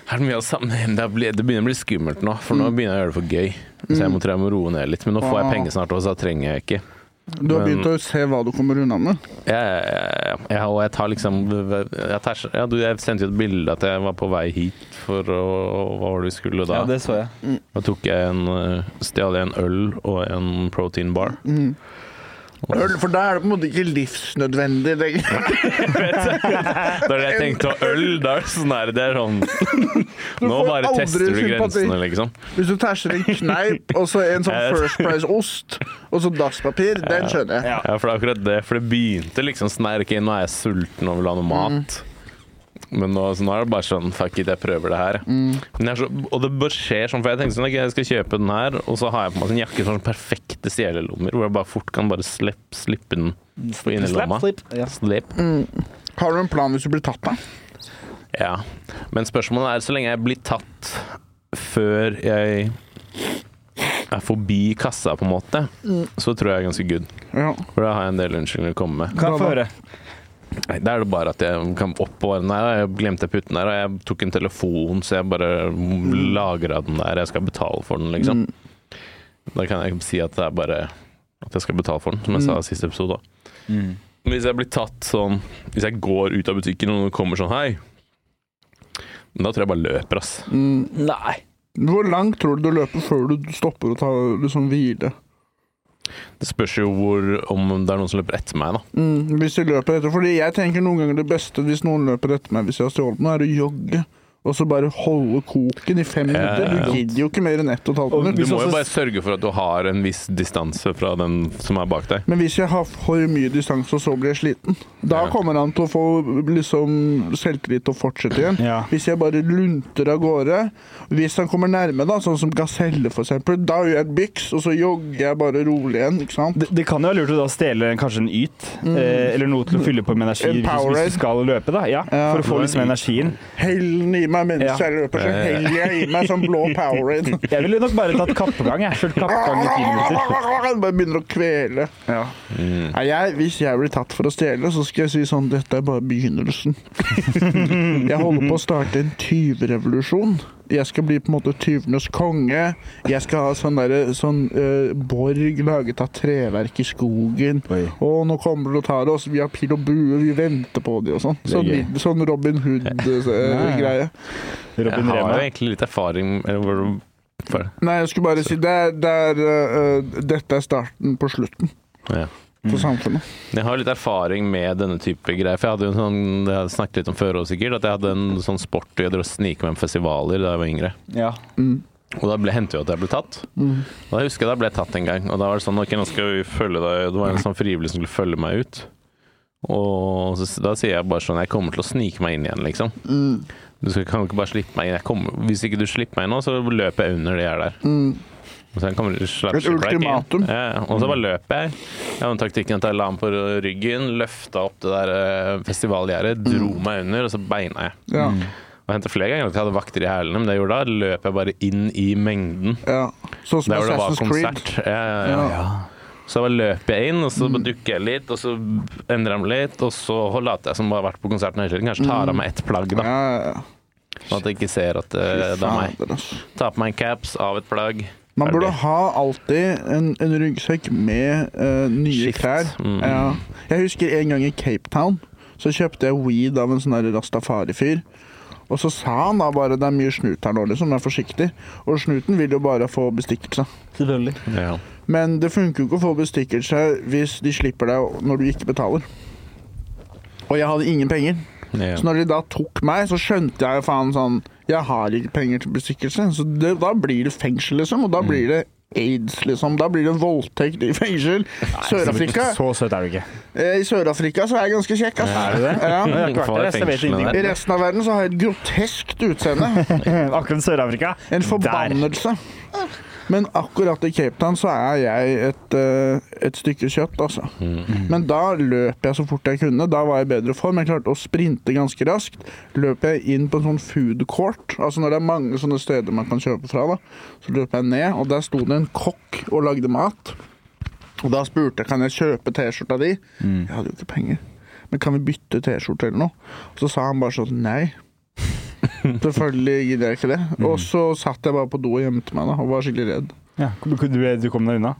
Er det mye av sammenheng? Det, blir- det begynner å bli
Mm.
skummelt nå, for nå begynner jeg å gjøre det for gøy. Så jeg må, tror jeg må roe ned litt. Men nå får jeg penger snart, og så trenger jeg ikke.
Du har
Men-
begynt å se hva du kommer unna med.
Ja, ja, ja, ja. ja, og jeg tar liksom jeg, tar, ja, du, jeg sendte jo et bilde at jeg var på vei hit for å Hva var det vi skulle da?
Ja, det så jeg.
Da tok jeg en eh, Stjal jeg en øl og en protein bar.
Øl, for da er det på en måte ikke livsnødvendig lenger.
Da er det jeg tenkte var øl, da er det sånn her Det er sånn Nå
får
bare
aldri
tester du
sympati.
grensene, liksom.
Hvis du tæsjer en kneip og så en sånn
Jeg vet.
First Price-ost og så dasspapir, den skjønner jeg.
Ja.
Ja, for det er akkurat det. For det begynte liksom snerke inn, nå er jeg sulten og vil ha
Mm.
noe mat. Men nå, så nå er det bare sånn Fuck it, jeg prøver det her.
Mm.
Men jeg er så, og det bare skjer sånn, for jeg tenkte sånn ok, jeg skal kjøpe den her, og så har jeg på meg en jakke som har sånn perfekte stjelelommer, hvor jeg bare fort kan bare slipp, slippe den på innerlomma.
Slap, Mm. slip. Ja.
Slipp.
Har du en plan hvis du blir tatt, da?
Ja. Men spørsmålet er så lenge jeg blir tatt før jeg er forbi kassa, på en måte, så tror jeg jeg er ganske good.
Ja.
For da har jeg en del unnskyldninger å komme med.
Kan jeg få høre?
Nei, Da er det bare at jeg kan opp på Nei, da, jeg glemte putten der, og jeg tok en telefon, så jeg bare lagra den der. Jeg skal betale for den,
Mm.
liksom. Da kan jeg si at det er bare at jeg skal betale for den, som jeg sa i siste episode. da.
Mm.
Men hvis jeg blir tatt sånn Hvis jeg går ut av butikken og noen kommer sånn Hei! Men Da tror jeg bare løper, ass.
Nei.
Mm. Hvor langt tror du du løper før du stopper å ta liksom, hvile?
Det spørs jo hvor om det er noen som løper etter meg, da.
Mm, hvis de løper etter Fordi jeg tenker noen ganger det beste hvis noen løper etter meg hvis jeg har stjålet noe, er å jogge. Og så bare holde koken i fem
Ja, ja,
minutter.
ja.
Du gidder jo ikke mer enn ett og et halvt
Og
minutt.
Du
Hvis
må jo
også-
bare sørge for at du har en viss distanse fra den som er bak deg.
Men hvis jeg har for mye distanse, og så blir jeg sliten, da
Ja.
kommer han til å få liksom, selvtillit til å fortsette igjen.
Ja.
Hvis jeg bare lunter av gårde, hvis han kommer nærme, da, sånn som gaselle for eksempel, da gjør jeg et byks, og så jogger jeg bare rolig igjen, ikke sant?
Det, det kan jo være lurt å da stjele kanskje en yt, eh, eller noe til å fylle på med energi
En
hvis,
Powerade.
hvis du skal løpe. da. Ja,
Ja.
For å få liksom energien.
Hell den i meg mens
Ja. Eh.
jeg løper, så heller jeg i meg sånn blå Powerade.
Jeg ville nok bare tatt kappegang. jeg. Kjørt kappegang i ti minutter.
Bare begynner å kvele.
Ja. Mm.
Nei, jeg, hvis jeg blir tatt for å stjele, så skal jeg si sånn Dette er bare begynnelsen. jeg holder på å starte en tyvrevolusjon. Jeg skal bli på en måte tyvenes konge. Jeg skal ha sånn, derre- sånn eh, borg laget av treverk i skogen.
Oi.
Å, nå kommer de og tar oss. Vi har pil og bue, vi venter på de og sånn.
er
Sånn,
gøy.
sånn Robin Hood-greie.
Robin
jeg har jo
Rema.
egentlig litt erfaring eller hvor- for
Nei, jeg skulle bare si det er, det er, eh, Dette er starten på slutten
ja.
for samfunnet.
Jeg har litt erfaring med denne type greier. For jeg hadde jo en sånn, det har jeg snakket litt om før også, sikkert, at jeg hadde en sånn sport hvor jeg drev og snika meg på festivaler da jeg var yngre.
Ja.
Mm.
Og da ble, hendte jo at jeg ble tatt. Og da husker jeg da ble jeg tatt en gang. Og da var det sånn Ok, nå skal vi følge deg Det var en sånn frivillig som skulle følge meg ut. Og så, da sier jeg bare sånn Jeg kommer til å snike meg inn igjen, liksom.
Mm.
Du skal, kan jo ikke bare slippe meg inn. Jeg kommer, hvis ikke du slipper meg inn nå, så løper jeg under de jeg er der.
Mm.
Og så kommer, slapp,
Et
slipper jeg ikke inn.
ultimatum.
Ja, ja. og så bare løper jeg. Jeg hadde den taktikken at jeg la ham på ryggen, løfta opp det der eh, festivalgjerdet,
Mm.
dro meg under, og så beina jeg.
Ja,
Og hendte flere ganger at jeg hadde vakter i hælene, men det jeg gjorde da, løp jeg bare inn i mengden.
ja. Sånn som
Der hvor det var
Assassin's Creed.
konsert. Ja, ja, ja. Så bare løper jeg inn, og så
Mm.
dukker jeg litt, og så endrer jeg meg litt, og så later jeg som bare har vært på konserten hele tiden. Kanskje tar av meg ett plagg, da.
Mm. Ja, ja, ja.
Sånn at jeg ikke ser at eh, det er meg.
Fader, ass.
Ta på meg en caps, av et plagg.
Man burde
Ferdig.
ha alltid en, en ryggsekk med eh, nye
Skift.
klær.
Mm.
Ja. Jeg husker en gang i Cape Town, så kjøpte jeg weed av en sånn der rastafari-fyr. Og så sa han da bare det er mye snut her nå, liksom, vær forsiktig. Og snuten vil jo bare få bestikkelse.
Selvfølgelig.
Ja.
Men det funker jo ikke å få bestikkelse hvis de slipper deg når du ikke betaler. Og jeg hadde ingen penger. Så
Ja.
når de da tok meg, så skjønte jeg jo faen sånn Jeg har ikke penger til bestikkelse. Så det, da blir det fengsel, liksom. Og da
Mm.
blir det aids, liksom. Da blir det voldtekt i fengsel. Sør-Afrika
Så søt er du ikke.
eh, I Sør-Afrika så er jeg ganske kjekk,
Er
ass.
du det? Jeg
Ja.
har ikke vært der, så jeg vet ingenting.
I resten av verden så har jeg et groteskt utseende.
Akkurat Sør-Afrika.
En forbannelse. Men akkurat i Cape Town så er jeg et, eh, et stykke kjøtt, altså. Men da løp jeg så fort jeg kunne. Da var jeg i bedre form. Jeg klarte å sprinte ganske raskt. Løp jeg inn på en sånn food court, altså når det er mange sånne steder man kan kjøpe fra, da. Så løp jeg ned, og der sto det en kokk og lagde mat. Og da spurte jeg kan jeg kjøpe T-skjorta di. Jeg hadde jo ikke penger. Men kan vi bytte T-skjorte eller noe? Og så sa han bare sånn nei.
Mm.
Selvfølgelig gidder jeg ikke det. Og så satt jeg bare på do og gjemte meg da, og var skikkelig redd.
Ja, kom- du, du kom deg unna?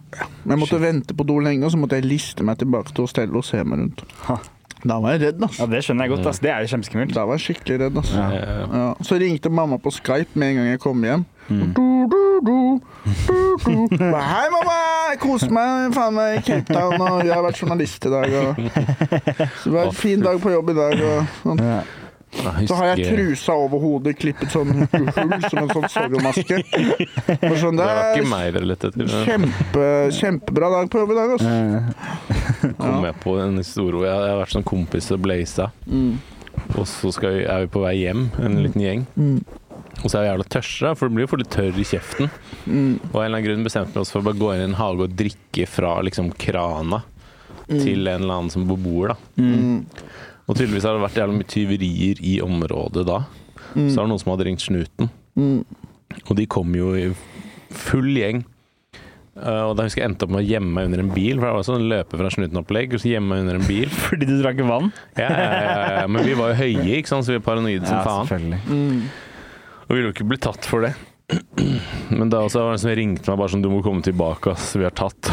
Men jeg måtte vente på do lenge, og så måtte jeg liste meg tilbake til hostellet og se meg rundt.
Ha.
Da var jeg redd,
Ja,
ass.
Det skjønner jeg godt. ass. Det er jo kjempeskummelt.
Da var jeg skikkelig redd, ass.
Ja.
Eh,
Ja, så ringte mamma på Skype med en gang jeg kom hjem.
Mm.
Du, du, du, du, du. Ba, Hei, mamma! Jeg koser meg faen meg i Cape Town, og jeg har vært journalist i dag. Og... Så det var en fin dag på jobb i dag. Og sånn.
Ja.
jeg
Så har jeg
husker-
trusa over hodet, klippet sånn hull som en sånn sorgomaske. Og Sånn,
Det
det
var ikke
er
meg det relatet til. men
kjempe, kjempebra dag på jobb i dag, altså. ass.
kom jeg på en historie hvor jeg jeg har vært sånn kompis og blaza.
Mm.
Og så skal vi, er vi på vei hjem, en liten gjeng.
Mm.
Og så er vi jævla tørste, da, for du blir jo fort litt tørr i kjeften. Og av en eller annen grunn bestemte vi oss for å bare gå inn i en hage og drikke fra liksom krana
Mm.
til en eller annen som bebor, da. Og tydeligvis har det vært jævla mye tyverier i området da. Så er det noen som hadde ringt snuten. Og de kom jo i full gjeng. Eh, og da husker jeg endte opp med å gjemme meg under en bil, for det var sånn løpe fra snuten-opplegg, og så gjemme meg under en bil.
Fordi du drakk vann?
Ja, ja, ja, ja. Men vi var jo høye, ikke sant, så vi var paranoide som faen.
selvfølgelig.
Og ville jo ikke bli tatt for det. Men da også var det en som ringte meg bare sånn Du må komme tilbake, ass. Vi har tatt.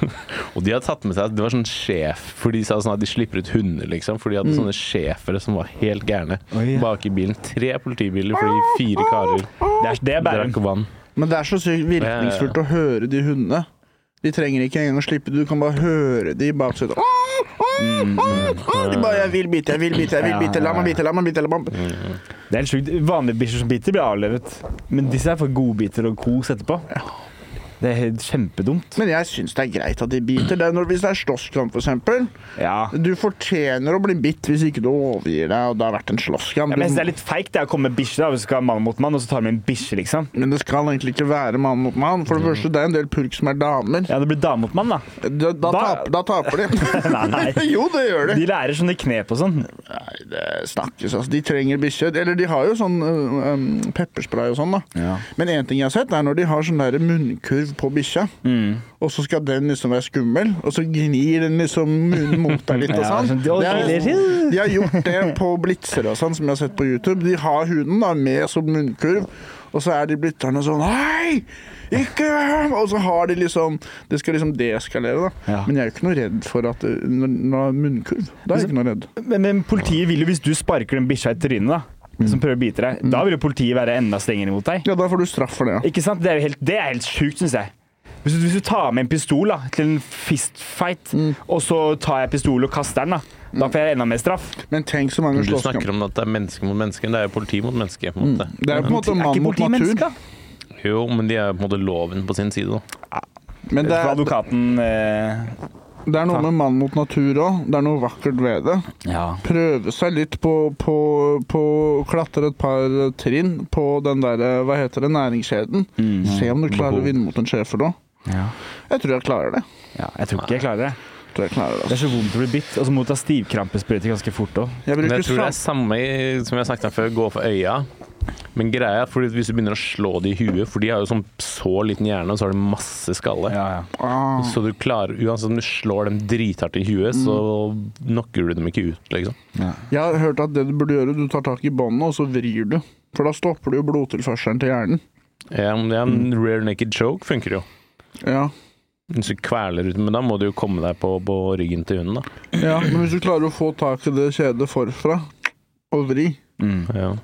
og de hadde tatt med seg Det var sånn sjef For de sa sånn at de slipper ut hunder, liksom. For de hadde sånne sjefere som var helt gærne
Oi, ja.
bak i bilen. Tre politibiler fordi fire karer
Det er, det er Bærum.
drakk vann.
Men det er så sykt virkningsfullt å høre de hundene. De trenger ikke engang å slippe, du kan bare høre de i baksetet.
Mm,
Ah, De bare 'jeg vil bite, jeg vil bite, jeg vil bite', la meg bite, la meg bite, la meg
Mm.
bite.
Det er helt sjukt. Vanlige bikkjer som biter, blir avlevet. Men disse er for godbiter og kos etterpå. Det er helt kjempedumt.
Men jeg syns det er greit at de biter. Det er når, hvis det er slåsskamp, f.eks.
Ja.
Du fortjener å bli bitt hvis ikke du overgir deg og det har vært en slåsskamp.
Ja, men jeg synes det er litt feigt det, å komme med bikkje, da, hvis du skal ha mann mot mann, og så tar du med en bikkje, liksom.
Men det skal egentlig ikke være mann mot mann. For det første, det er en del purk som er damer.
Mm. Ja, det blir dame mot mann, da.
Da, da,
Da-
taper, da taper de.
Nei.
jo, det gjør de.
De lærer sånne knep og sånn.
Nei, det snakkes, altså. De trenger bikkje. Eller de har jo sånn øh, øhm, pepperspray og sånn, da.
Ja.
Men én ting jeg har sett, er når de har sånn der munnkurv på bikkja,
Mm.
og så skal den liksom være skummel, og så gnir den liksom munnen mot deg litt og
Ja,
sånn.
sånn, «Å,
Det er- sånn,
killer!»
de har gjort det på blitser og sånn, som jeg har sett på YouTube. De har hunden da med som munnkurv. Og så er de blitterne sånn Hei! Ikke Og så har de liksom Det skal liksom deeskalere, da.
Ja.
Men jeg er jo ikke noe redd for at øh, Når når jeg har munnkurv, da er jeg ikke noe redd.
Men, men politiet vil jo, hvis du sparker den bikkja i trynet, da,
Mm.
som prøver å bite deg, da vil jo politiet være enda strengere mot deg.
Ja, da får du straff for det, ja.
Ikke sant? Det er jo helt, det er helt sjukt, syns jeg. Hvis du, hvis du tar med en pistol da, til en fistfight,
Mm.
og så tar jeg pistolen og kaster den, da, da får jeg enda mer straff.
Men tenk Mm. så mange
Du snakker
slåsskamper.
om at det er menneske mot menneske. Det er jo politi mot menneske. på en måte.
Det er jo på en måte
Er
mann
ikke
mot
politiet
natur.
mennesker?
Jo, men de er jo på en måte loven på sin side, da.
Men det
Fra
er,
advokaten eh,
det er noe med mann mot natur òg. Det er noe vakkert ved det.
Ja.
Prøve seg litt på, på, på å klatre et par trinn på den derre Hva heter det? Næringskjeden.
Mhm.
Se om du klarer å vinne mot en schæfer nå.
ja.
Jeg tror jeg klarer det.
Jeg tror ikke jeg klarer det.
Jeg tror jeg klarer det. altså.
Det er så vondt å bli bitt. Og så må du ta stivkrampesprøyte ganske fort òg.
Jeg
Men
bruker
jeg tror det er
sam-
samme i- som jeg snakket om før, gå for øya. Men greia er fordi hvis du begynner å slå de i huet, for de har jo sånn så liten hjerne, og så har de masse skalle.
Ja, ja.
ah,
Så du klarer, uansett om du slår dem drithardt i huet, så knocker du dem ikke ut, liksom.
Jeg har hørt at det du burde gjøre, du tar tak i båndet, og så vrir du. For da stopper du jo blodtilførselen til hjernen.
Ja, men det er en rear naked choke funker jo.
Ja.
Hvis du kveler ut, men da må du jo komme deg på, på ryggen til hunden, da.
ja. Men hvis du klarer å få tak i det kjedet forfra og vri
Mm.
Ja.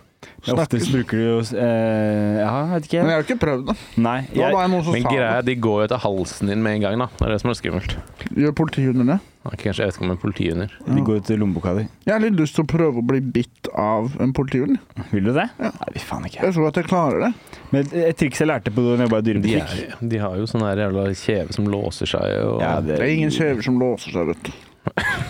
Men Oftest bruker du jo eh, Ja, vet ikke.
Men jeg har jo ikke prøvd det.
Nei.
Nå
Jeg,
var det noen som
Men
sa
greia er, de går jo etter halsen din med en gang, da. Det er det som er skummelt.
det. Gjør politihunder det?
Ok, Kanskje jeg vet ikke om en politihunder.
de går ut i lommeboka di.
Jeg har litt lyst til å prøve å bli bitt av en politihund.
Vil du det? Nei, vi faen ikke.
Jeg tror at jeg klarer det.
Men et- et triks jeg lærte på da jeg jobba i
De,
dyrebutikk
er, de har jo sånn her jævla kjeve som låser seg og
Ja,
Det er ingen kjever som låser seg, vet du.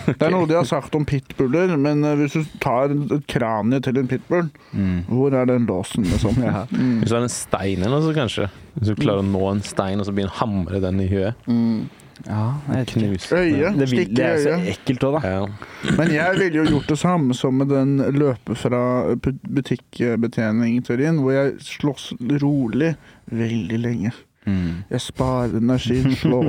Det er noe de har sagt om pitbuller, men eh, hvis du tar en- et kranie til en pitbull,
Mm.
hvor er den låsen, liksom?
Ja.
Hvis du har en stein eller noe, så kanskje. Hvis du klarer å nå en stein og så begynner å hamre den i huet.
Mm.
Ja, jeg vet ikke.
Knuse.
Øyet.
Det, vil,
Stikke
det
i
er så
øyet.
ekkelt òg, da.
Ja.
Men jeg ville jo gjort det samme som med den løpe fra bu- butikkbetjening-teorien, hvor jeg slåss rolig veldig lenge.
Mm.
Jeg sparer energien, slå,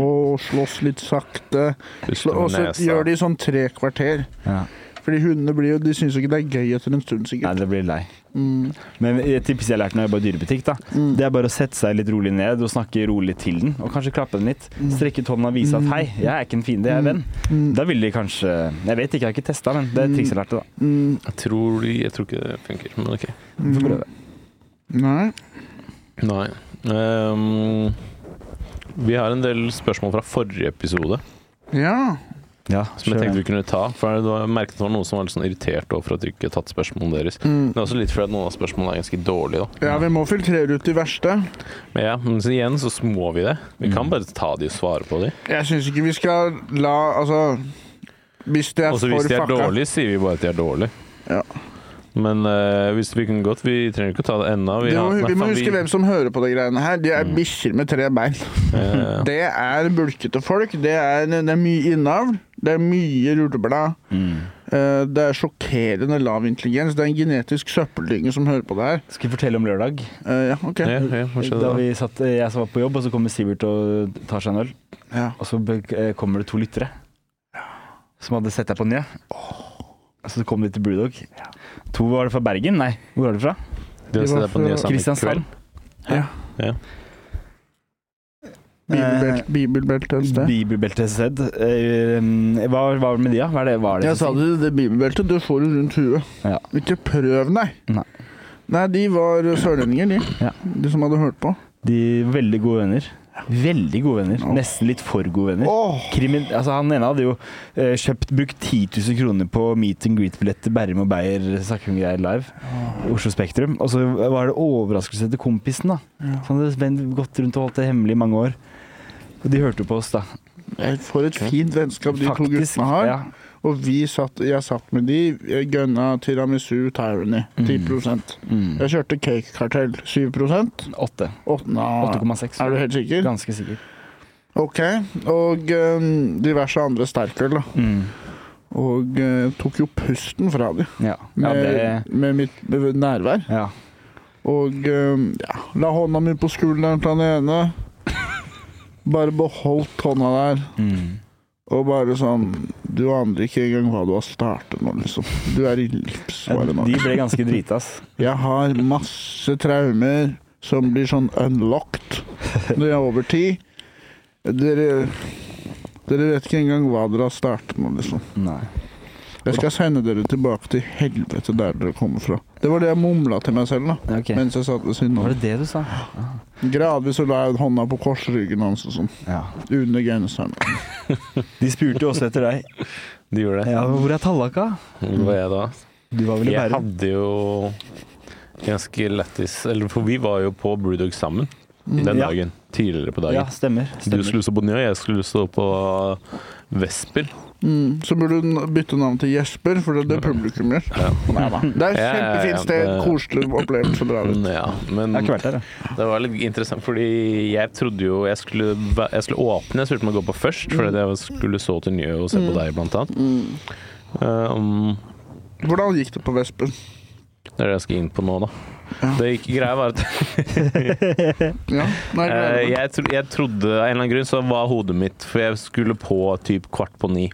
slåss litt sakte.
Puste
Slå, og
med
så
nesa.
gjør de sånn tre kvarter. Fordi hundene blir jo, de syns jo ikke det er gøy etter en stund,
Nei,
sikkert.
det blir lei.
Mm.
Men et tips jeg har lært når jeg jobber i dyrebutikk, da,
Mm.
det er bare å sette seg litt rolig ned og snakke rolig til den. Og kanskje klappe den litt. Strekke ut hånda og vise at
Mm.
'hei, jeg er ikke en fiende, jeg er venn'.
Mm.
Da vil de kanskje Jeg vet ikke, jeg har ikke testa, men det er et triks jeg lærte, da.
Mm.
Jeg tror, de- jeg tror ikke det funker, men OK.
Vi får prøve.
Mm. Nei.
Nei. Ehm, vi har en del spørsmål fra forrige episode
Ja.
Ja,
som jeg tenkte vi kunne ta. For det var, jeg merket det var noen som var litt sånn irritert over at vi ikke har tatt spørsmålene deres.
Mm.
Det er også litt fordi at noen av spørsmålene er ganske dårlige, da.
Ja, vi må filtrere ut de verste.
Men ja, men så igjen så må vi det. Vi
Mm.
kan bare ta de og svare på de.
Jeg syns ikke vi skal la Altså, hvis det er
Og så
for
hvis de er
fucka
dårlige, sier vi bare at de er dårlige.
Ja.
Men eh, hvis vi kan godt Vi trenger ikke å ta det ennå.
vi,
har-
må,
nei,
vi må
faen, Mm.
huske hvem som hører på de greiene her. De er bikkjer med tre bein.
eh,
Det er bulkete folk. Det er, det er mye innavl. Det er mye rulleblad.
Mm.
Eh, Det er sjokkerende lav intelligens. Det er en genetisk søppeldynge som hører på det her.
Skal vi fortelle om lørdag?
Eh, Ja, OK.
ja, ja, hva skjedde
Da
da?
vi satt, jeg som var på jobb, og så kommer Sivert og tar seg en øl.
Ja.
Og så be- eh, kommer det to lyttere som hadde sett deg på nye. Og så kom de til Brewdog. To var det fra Bergen? Nei, hvor er du fra?
De har
vi var
sett deg på
fra
Nye Samer i kveld.
Kristiansand.
Ja.
Ja.
Bibelbelt,
Eh,
bibelbelt et sted.
Bibelbelte SZ. Eh, Hva var det med de, da? Hva er det, hva er det
Jeg sa det, det bibelbeltet, du får det rundt huet.
Ja.
Ikke prøv, nei.
Nei.
Nei, de var sørlendinger, de.
Ja.
De som hadde hørt på.
De er veldig gode venner. Veldig gode venner. Nesten litt for gode venner.
Åh,
Krimin, altså han ene hadde jo eh, kjøpt, brukt 10 000 kroner på meet and greet-billett til Bærum og Beyer snakker om greier live. Oslo Spektrum. Og så var det overraskelse til kompisen, da. Så han hadde spent- gått rundt og holdt det hemmelig i mange år. Og de hørte jo på oss, da.
for et fint vennskap de to guttene har.
Ja.
Og vi satt, jeg satt med de, jeg gønna tiramisu tyranny, 10
Mm.
Jeg kjørte cakekartell, 7 Åtte-
8.
Nei,
8,6.
er du helt sikker?
Ganske sikker.
Ok, og eh, diverse andre sterkøl, da.
Mm.
Og eh, tok jo pusten fra dem
Ja. ja,
med,
det
med mitt med nærvær.
ja.
Og eh, ja, la hånda mi på skulderen til han ene. Bare beholdt hånda der,
Mm.
og bare sånn Du aner ikke engang hva du har startet nå, liksom. Du er i
Ja,
livsfare nå.
De ble ganske drita, ass.
Jeg har masse traumer som blir sånn unlocked når jeg er over ti. Dere dere vet ikke engang hva dere har startet med, liksom.
Nei.
Jeg skal sende dere tilbake til helvete der dere kommer fra. Det var det jeg mumla til meg selv da,
Ok.
mens jeg satt ved siden
Var
av.
det det du sa?
Gradvis så la jeg hånda på korsryggen hans og sånn,
Ja.
under genseren.
De spurte jo også etter deg.
De gjorde det.
Ja, hvor er Tallaka?
Hvor var jeg da?
Du var vel i
Jeg
Bærum?
hadde jo ganske lættis Eller for vi var jo på Brewdog sammen den
Mm, Ja.
dagen. Tidligere på
Ja,
dagen.
stemmer.
Du
stemmer.
skulle stå på Njø, jeg skulle stå på Vesper.
Mm. Så burde du n- bytte navn til Jesper, for det er det publikum gjør.
Ja.
Det er
Ja, ja,
et
ja,
kjempefint sted,
det- Mm.
koselig opplevelse å dra ut.
Ja, men
Jeg har ikke vært der, jeg.
Det var litt interessant, fordi jeg trodde jo jeg skulle, væ- jeg skulle åpne. Jeg spurte meg å gå på først, fordi jeg skulle så til Njø og se på deg, blant annet. Um,
Mm. Hvordan gikk det på Vespen?
det er det jeg skal inn på nå, da. Det gikk greia var at
Ja.
eh,
Nei, gleder meg.
jeg, tro, jeg trodde Av en eller annen grunn så var hodet mitt For jeg skulle på typ kvart på ni.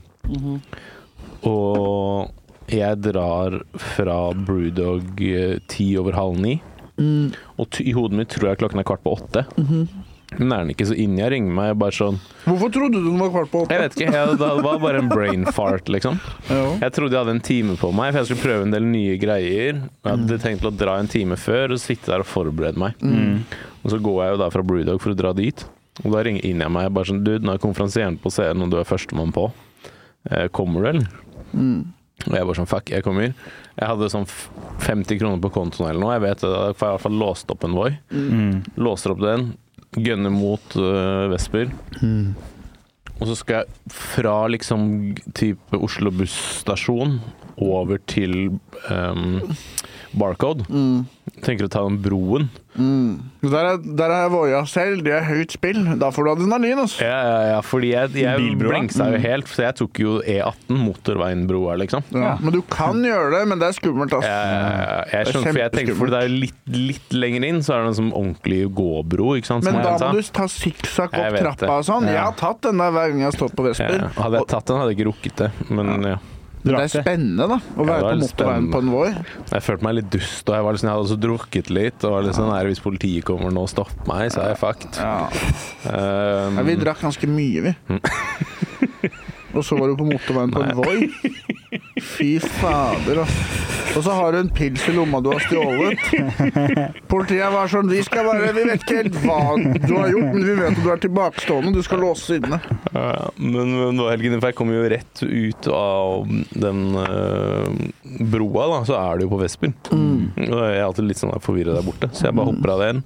Og jeg drar fra Brewdog eh, ti over halv ni.
Mm. Mm-hmm.
Og t i hodet mitt tror jeg klokken er kvart på åtte. Men er den ikke, så innen jeg ringer meg, bare sånn
Hvorfor trodde du den var kvart på åtte?
Jeg vet ikke. Jeg, det var bare en brain fart, liksom.
Ja.
Jeg trodde jeg hadde en time på meg, for jeg skulle prøve en del nye greier. Jeg hadde tenkt å dra en time før og sitte der og forberede meg.
Mm.
Og så går jeg jo da fra Brewdog for å dra dit, og da ringer inn jeg meg bare sånn Dude, nå er konferansieren på scenen, og du er førstemann på. Eh, Kommer du, eller? Og jeg bare sånn Fuck, jeg kommer. Jeg hadde sånn f- 50 kroner på kontoen eller noe. Jeg vet det, for jeg har i hvert fall låst opp en Voi.
Mm.
Mm.
Mm. Låser opp den, gønner mot øh, Vesper.
Mm.
Og så skal jeg fra liksom type Oslo busstasjon over til øhm, Barcode. Tenker å ta den broen.
Mm. Der er, der er voia selv, det er høyt spill. Da får du adrenalin, altså.
Ja, ja, ja, fordi jeg, jeg
Bilbroa?
blengsa
Mm.
jo helt, så jeg tok jo E18, motorveinbroa, liksom.
Ja. Men du kan gjøre det, men det er skummelt, altså. ass.
Jeg, jeg
Det er
skjønner, for jeg tenker, for det er jo litt, litt lenger inn, så er det en sånn ordentlig gåbro, ikke sant? som
Men
jeg
da
sa.
må du ta sikksakk
Jeg
opp
vet
trappa
det.
og sånn. Jeg har tatt den der hver gang jeg har stått på
Ja,
Vesper.
ja. hadde jeg tatt den, hadde jeg ikke rukket det. Men ja.
Men det
Drakk
er
det.
spennende, da. Å
det
være
er
på
litt
motorveien
spennende.
på en vår.
Jeg følte meg litt dust, og jeg, var liksom, jeg hadde også drukket litt. Og var litt sånn, "Nei, Hvis politiet kommer nå og stopper meg, så er jeg fucked. Um,
Ja, vi drakk ganske mye, vi.
Mm.
Og så var du på motorveien på en Voi. Fy fader, ass. Og så har du en pils i lomma du har stjålet. Politiet var sånn Vi skal være Vi vet ikke helt hva du har gjort, men vi vet at du er tilbakestående. Du skal låses inne.
Ja, Eh, men, men nå i helgen, for jeg kom jo rett ut av den eh, broa, da, så er du jo på Vesper.
Mm.
Og jeg er alltid litt sånn forvirra der borte, så jeg bare hopper av den,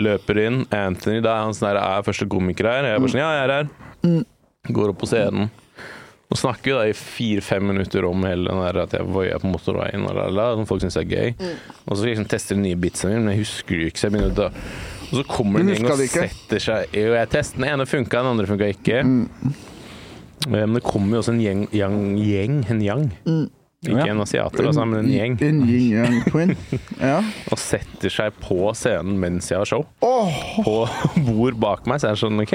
løper inn. Anthony da er han sånn der, er første komiker her. Jeg er bare
Mm.
sånn, ja, jeg er her. Går opp på scenen. Og snakker jo da i fire-fem minutter om hele den der at jeg voier på motorveien, og la, la, la, som folk syns er gøy.
Mm.
Og så skal jeg liksom teste de nye bitsa mine, men jeg husker det jo ikke, så jeg begynner å dø. Og så kommer det
Men
en gjeng og
husker det ikke? Mm.
setter seg Jo, jeg tester den ene funka, den andre funka ikke. Eh, Men det kommer jo også en gjeng, gjeng, gjeng en yang. Ikke
Mm. Ja.
en asiater, altså, men en gjeng.
En yin-yang twin. Ja.
Mm.
Og setter seg på scenen mens jeg har show.
Åh,
På bord bak meg, så er det sånn OK.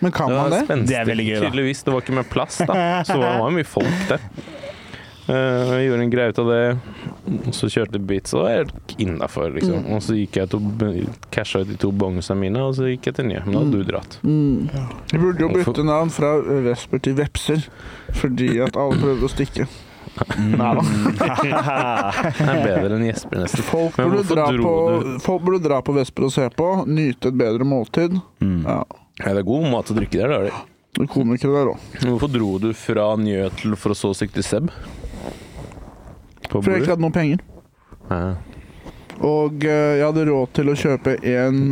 men kan
Det
man
var
det?
spenstig,
Det er veldig gøy, da.
tydeligvis. Det var ikke mer plass, da. Så det var mye folk der. Eh, Jeg gjorde en greie ut av det, og så kjørte beats, og jeg er innafor, liksom.
Mm.
Og så gikk jeg til casha ut de to bongsa mine, og så gikk jeg til nye. Men da hadde du dratt.
Vi burde jo bytte navn fra Vesper til Vepser, fordi at alle prøvde å stikke.
Mm.
Nei da. Jeg er bedre enn Jesper, nesten.
Folk
Men
burde,
hvorfor
dra
dro
på, folk burde dra på Vesper og se på, nyte et bedre måltid.
Mm.
Ja.
Ja, det er god mat å drikke der, det er det.
Det er Komikere der òg.
Men Hvorfor dro du fra Njø til for å så sikte Seb? På
For jeg
bordet?
ikke hadde noen penger.
Ja.
Og eh, jeg hadde råd til å kjøpe én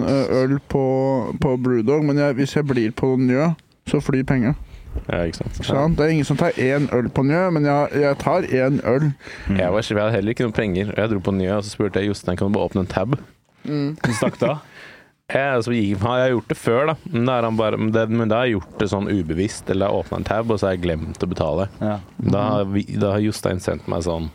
øl på, på Brewdog, men jeg, hvis jeg blir på Njø, så flyr penger.
ja, ikke sant.
Ikke sant? Det er ingen som tar én øl på Njø, men jeg, jeg tar én øl.
Mm. Jeg, var, jeg hadde heller ikke noen penger. og Jeg dro på Njø og så spurte jeg Jostein kan du bare åpne en tab. Mm.
Hun stakk da.
Jeg, så gikk, han, jeg har gjort det før, da. Men da, er han bare, men det, men da har jeg gjort det sånn ubevisst. Eller jeg har åpna en tab, og så har jeg glemt å betale.
Ja.
Da, har vi, da har Jostein sendt meg sånn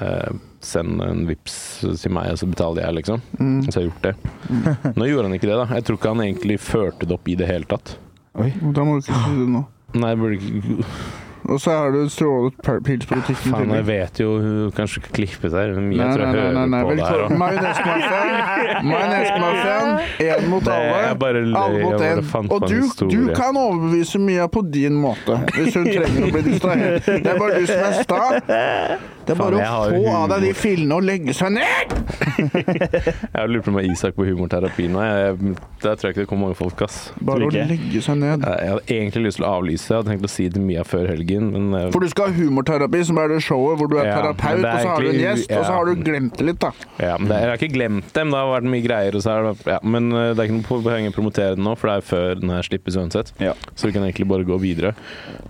eh, Send en vips til meg, og så betaler jeg, liksom.
Mm.
Så jeg har gjort det. Nå gjorde han ikke det, da. Jeg tror ikke han egentlig førte det opp i det hele tatt.
Oi.
Da må du ikke si det nå.
Nei, jeg burde ikke
Og så har du stjålet per- pils på butikken.
Faen, jeg
til.
vet jo hun kanskje ikke klippet her. men Jeg
Nei,
tror
nei,
jeg
nei, nei,
hører
nei.
på det her.
Velkommen.
også.
Majonesmafiaen. Majonesmafiaen. Én mot
Det-
alle.
jeg bare løy,
Alle
jeg
mot
bare
én.
fant
Og
på en
du, du
historie.
kan overbevise Mia på din måte, hvis hun trenger å bli distrahert. Det er bare du som er sta. Det er
Faen,
bare
jeg
å
har
få av deg de
humor.
fillene og legge seg ned!
Jeg lurer på om jeg er Isak på humorterapi nå. Jeg, der tror jeg ikke det kommer mange folk, ass.
Bare å
ikke.
legge seg ned.
Jeg jeg hadde egentlig lyst til å avlyse. Jeg hadde tenkt å si det Mia før helgen, men eh,
For du skal ha humorterapi, som er det showet hvor du er
Ja,
terapeut,
men det er
og så har du en
egentlig-
gjest, og så har
ja.
du glemt det litt, da.
ja, men det, jeg har ikke glemt dem. Det har vært mye greier. Og så er det, ja, men eh, det er ikke noe poeng å promotere den nå, for det er før den her slippes uansett.
Ja.
Så vi kan egentlig bare gå videre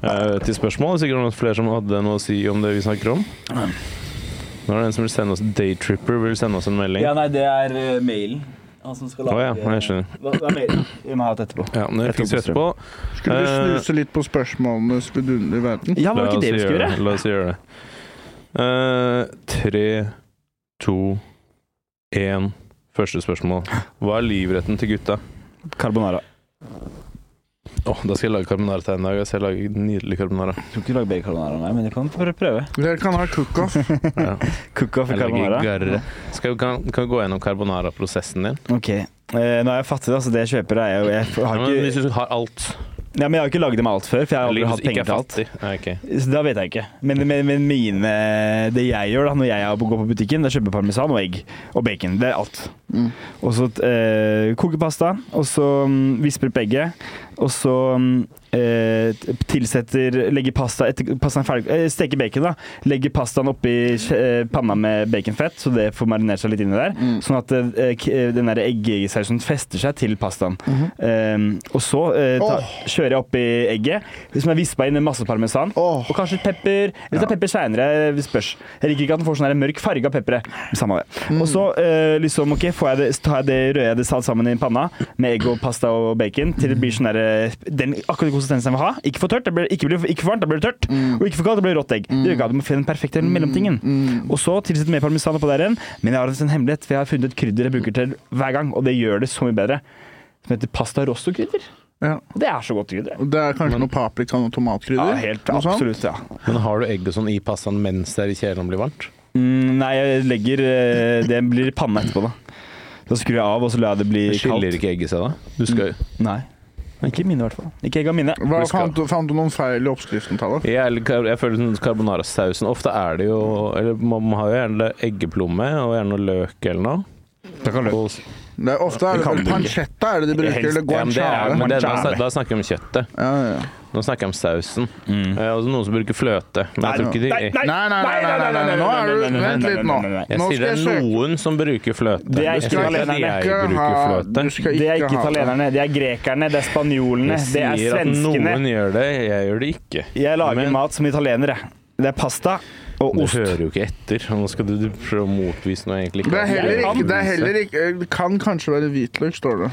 Eh, til spørsmål. Det er Sikkert noen flere som hadde noe å si om det vi snakker om. Nå er det en som vil sende oss Daytripper vil sende oss en melding.
Ja, nei, det er eh, mailen. Han som skal
Å
lage
ja, jeg skjønner.
Hva, hva er mailen?
Vi må ha et etterpå.
Ja, men det
Jeg tok
fikser vi
på strøm.
etterpå.
Skulle du
Eh,
snuse litt på spørsmålenes vidunderlige verden?
Ja,
La
var det ikke
oss
det vi skulle
gjøre
gjøre?
det. La oss gjøre det. Eh, tre, to, én. Første spørsmål. Hva er livretten til gutta?
Carbonara.
Åh, da skal jeg lage carbonara til deg en dag. Jeg skal lage nydelig carbonara.
Jeg tror ikke du lager bedre carbonara enn meg, men du kan prø- prøve.
Dere kan ha cook-off.
Ja.
Cook-off i
Jeg lager
carbonara.
garre. Skal vi kan, kan vi gå gjennom carbonara-prosessen din?
Ok. Eh, nå er jeg fattig, da, så det jeg kjøper er jo Jeg
Ja,
har
men hvis
ikke,
du har alt
ja, men jeg har ikke lagd det med alt før, for jeg har aldri
eller hvis
hatt
du ikke
penger
er
til alt.
fattig. Nei, ok.
Så da vet jeg ikke. Men, men, men mine Det jeg gjør da når jeg er på- går på butikken, det er å kjøpe parmesan og egg og bacon. Det er alt.
Mm.
Og så eh, koke pasta, og så mm, visper opp egget. Og så mm, eh, t- tilsetter Legger pasta etter pastaen er ferdig eh, Steker bacon, da. Legger pastaen oppi eh, panna med baconfett, så det får marinert seg litt inni der. Sånn at eh, k- eh, den der eggesausen fester seg til pastaen.
Mm-hmm.
Eh, og så eh, ta,
Åh.
kjører jeg oppi egget, som er vispa inn med masse parmesan.
Åh.
Og kanskje litt pepper. Hvis det er pepper seinere, spørs. Jeg liker ikke at den får sånn her mørk farge av pepperet. Samme det. Og så eh, liksom, ok, får jeg det, så tar jeg det rører jeg det salt sammen i panna med egg og pasta og bacon til det blir sånn derre den akkurat konsistensen jeg vil ha. Ikke for tørt, det blir, ikke, blir, ikke for varmt, da blir det tørt.
Mm.
Og ikke for kaldt, det blir rått egg. Det gjør ikke at du må finne den perfekte mellomtingen.
Mm.
Og så tilsett mer parmesan oppå der igjen. Men jeg har en hemmelighet, for jeg har funnet et krydder jeg bruker til hver gang, og det gjør det så mye bedre. Som heter pasta rosso-krydder.
Ja.
Og det er så godt krydder. det.
Og Det er kanskje noe paprika og noe
Ja,
tomatkrydder?
helt
noe sånt?
absolutt, ja.
Men har du egg og sånn i pastaen mens det er i kjelen og blir varmt?
Mm, nei, jeg legger eh, Det blir panne etterpå, da. Da skrur jeg av, og så lar jeg det bli
Skiller
kaldt. Mm.
ikke egget seg da? Du skal jo
Nei. Ikke mine, i hvert fall. Ikke egg av mine.
Hva,
Vi skal-
fant, du, fant du noen feil i oppskriften, Tallaf?
jeg, er litt kar- jeg føler sånn carbonara-sausen Ofte er det jo Eller man man har jo gjerne eggeplomme og gjerne noe løk eller noe.
Da kan
Og,
Det er ofte er
Det
det
kan
vel
du ikke.
pancetta er det de bruker,
Helst-
eller
ja, men det er,
guanciale.
men det, da,
Guanciale.
da snakker vi om kjøttet.
Ja, ja, ja.
Nå snakker jeg om sausen. Eh, og så noen som bruker fløte. Men jeg tror ikke de
Mm. Nei,
Nei, nei, nei, nei, nei, nei, nei, nå er du Vent litt nå.
Jeg
Nå
sier det
skal jeg
er
søke.
noen som bruker fløte.
Det er
Jeg
ikke
sier at
italienerne.
Jeg bruker fløte.
du skal
Det er
ikke
ikke
ha det.
italienerne, det er grekerne, det er spanjolene,
Jeg
det er
sier at
svenskene.
noen gjør det, jeg gjør det ikke.
Jeg lager
Men-
mat som italiener, jeg. Det er pasta og
Du
ost.
hører jo ikke etter. Nå skal du du prøve å motbevise noe jeg egentlig
Det er heller
har.
ikke, det er heller ikke Det kan kanskje være hvitløk, står det.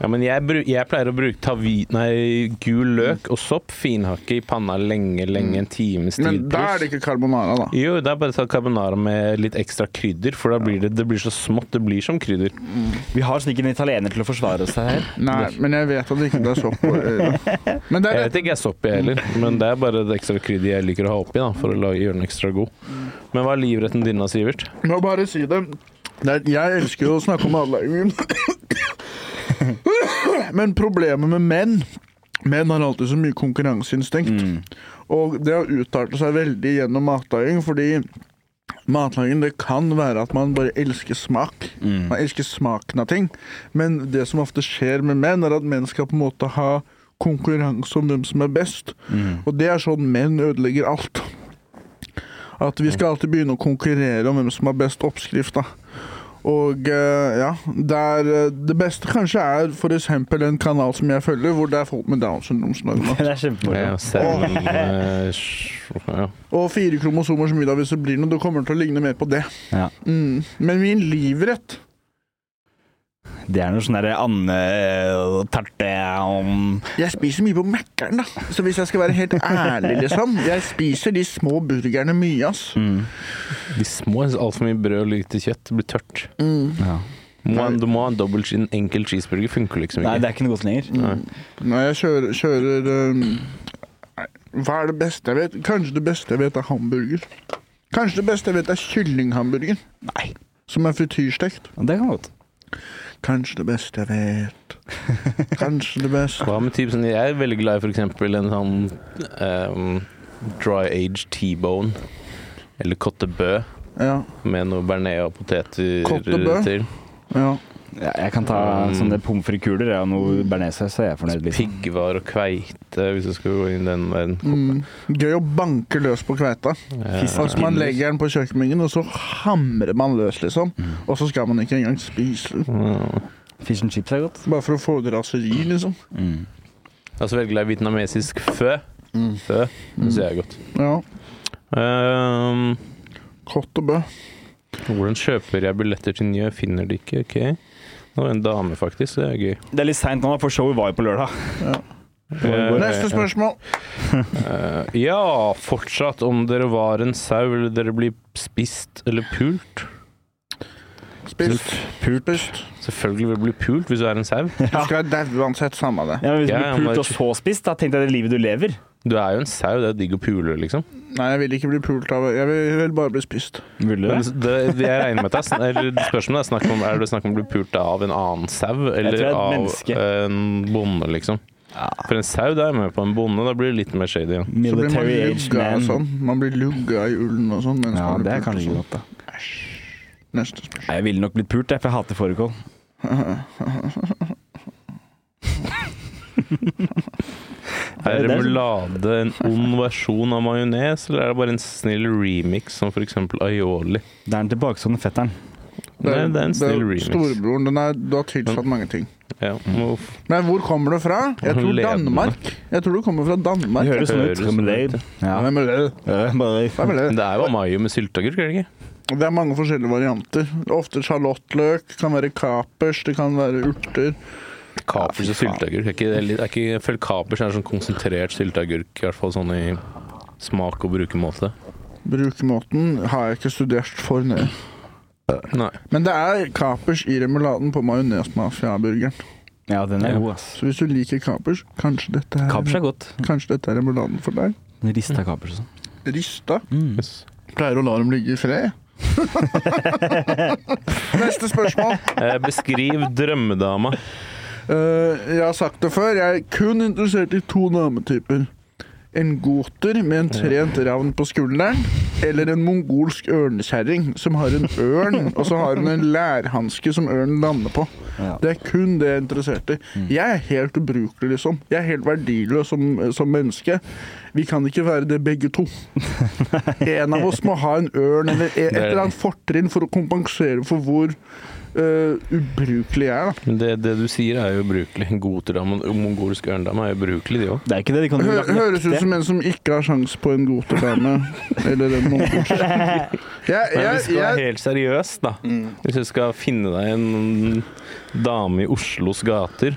Ja, men jeg, bru, jeg pleier å bruke ta vi, nei, gul løk og sopp, finhakke i panna lenge, lenge, en times tid
Mm. Men da er det
pluss.
ikke carbonara, da.
Jo, det er bare å ta carbonara med litt ekstra krydder, for da blir det, det blir så smått. Det blir som krydder.
Vi har sånn ikke en italiener til å forsvare oss her.
Nei, men jeg vet at det ikke er sopp på øra. Men det
Jeg
er
vet ikke jeg er sopp, jeg heller, men det er bare det ekstra krydder jeg liker å ha oppi da, for å lage, gjøre den ekstra god. Men hva er livretten din da, Sivert?
Må bare si det. det er, jeg elsker jo å snakke om matlagingen. Men problemet med menn Menn har alltid så mye konkurranseinstinkt. Og det har utartet seg veldig gjennom matlaging, fordi matlaging det kan være at man bare elsker smak. Man elsker smaken av ting. Men det som ofte skjer med menn, er at menn skal på en måte ha konkurranse om hvem som er best. Og det er sånn menn ødelegger alt. At vi skal alltid begynne å konkurrere om hvem som har best oppskrift. da. Og eh, ja, der, eh, det beste kanskje er f.eks. en kanal som jeg følger, hvor det er folk med Downs syndrom som lager mat.
Det er kjempemoro.
Ja, Seven eh, sj- ja.
Og fire kromosomer som middag hvis det blir noe. Det kommer til å ligne mer på det.
Ja.
Mm. Men min livrett
Det er noe sånn derre andetarte om
Jeg spiser mye på Mækkern, da. Så hvis jeg skal være helt ærlig, liksom Jeg spiser de små burgerne mye, ass.
Mm.
De små er altfor mye brød og lite kjøtt. Det blir tørt.
Mm.
ja.
Må ha en- Du må ha en dobbel che- en enkel cheeseburger. Funker liksom
Nei,
ikke.
det er ikke noe godt lenger.
Når jeg kjører, kjører um, nei, Hva er det beste jeg vet? Kanskje det beste jeg vet, er hamburger. Kanskje det beste jeg vet, er kyllinghamburger.
Nei.
Som er frityrstekt.
Det kan godt.
Kanskje det beste jeg vet. Kanskje det beste
Hva med typ sånn Jeg er veldig glad i for eksempel en sånn ehm, dry aged T-bone. Eller cotte bø
Ja.
med noe bearnés og poteter
Cotte bø?
til.
ja.
Ja, jeg kan ta sånne pommes frites-kuler og noe bearnéssaus, så er jeg fornøyd. Liksom.
Piggvar og kveite, hvis du skal gå inn i den verden.
Mm. Gøy å banke løs på kveita.
Eh,
Altså Man legger den på kjøkkenbenken, og så hamrer man løs, liksom. Og så skal man ikke engang spise den.
Fish and chips er godt.
Bare for å få det raseri, liksom.
Jeg er også veldig glad i vietnamesisk fø. Fø det syns jeg er godt.
Mm. Ja.
Ehm,
Kott og bø.
hvordan kjøper jeg billetter til Njø? Finner de ikke? OK. Det var en dame, faktisk. Det er gøy.
Det er litt seint nå, da, for showet var jo på lørdag.
Eh,
Neste spørsmål.
Ja, fortsatt om dere var en sau eller dere blir spist eller pult.
Spist.
Pult.
Spist.
Selvfølgelig vil du bli pult hvis du er en sau.
Du skal daue uansett, samme det.
Ja, men hvis du
Ja, ja,
blir
men-
pult og så spist, da tenkte jeg det livet du lever.
Du er jo en sau, det er jo digg å pule, liksom.
Nei, jeg vil ikke bli pult av Jeg vil, vil bare bli spist.
Ville
Men det, jeg regner med at det er, sn- eller spørsmålet er, snakk om, er det snakk om å bli pult av en annen sau
tror det
eller
er et
av
menneske.
en bonde, liksom. For en sau, da er jeg med på en bonde, da blir det litt mer shady igjen.
Så blir man
Military age
lugga og
man.
sånn. Man blir lugga i ullen og sånn. mens
Ja,
man blir
det er
pult og
kanskje
sånn.
ikke godt, da.
Neste spørsmål.
Nei, Jeg ville nok blitt pult, jeg, for jeg hater fårikål.
Er
det er sånn-
remulade en ond versjon av majones, eller er det bare en snill remix, som for eksempel aioli?
Det er den tilbakestående fetteren.
Det er, det er en
det er
snill remix.
Storebroren den er, du har tilsatt mange ting.
Ja, må f-
Men hvor kommer det fra? Jeg tror
Ledende.
Danmark. Jeg tror det kommer fra Danmark.
Det høres sånn ut.
høres sånn ut,
Ja.
Hvem er det?
Ja, bare
Hvem er det?
Men det er jo mayo med sylteagurk, er det ikke?
Det er mange forskjellige varianter. Ofte sjalottløk, det kan være kapers, det kan være urter.
Kapers og sylteagurk. Er ikke, det litt- er ikke, jeg føler kapers er sånn konsentrert sylteagurk, i hvert fall sånn i smak og brukermåte.
Brukemåten har jeg ikke studert for nøye.
Nei.
Men det er kapers i remuladen på majonesmafia-burgeren.
Ja, den er god, ass.
Så hvis du liker kapers, kanskje dette er,
Kapers er godt.
kanskje dette er remuladen for deg.
Rista kapers og sånn.
Rista.
Yes.
Pleier å la dem ligge i fred. Neste spørsmål.
Eh, beskriv drømmedama.
Eh, jeg har sagt det før, jeg er kun interessert i to dametyper. En goter med en trent ravn på skulderen, eller en mongolsk ørnekjerring som har en ørn, og så har hun en lærhanske som ørnen lander på.
Ja.
Det er kun det jeg er interessert i. Jeg er helt ubrukelig, liksom. Jeg er helt verdiløs som, som menneske. Vi kan ikke være det begge to. En av oss må ha en ørn eller et eller annet fortrinn for å kompensere for hvor eh, ubrukelig jeg er. da.
Men det, det du sier er jo ubrukelig. Goterdam og mongolsk ørndam er jo ubrukelig, de òg.
Det er ikke det. De kan
Hø høres ut som en som ikke har sjans på en goterdame. Eller en mongolsk. Jeg,
Men hvis
jeg,
du skal være
jeg,
helt seriøs, da
Mm.
Hvis du skal finne deg en dame i Oslos gater